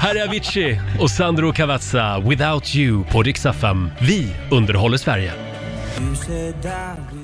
Här är Avicii och Sandro Cavazza, Without You på Riksaffären. Vi underhåller Sverige.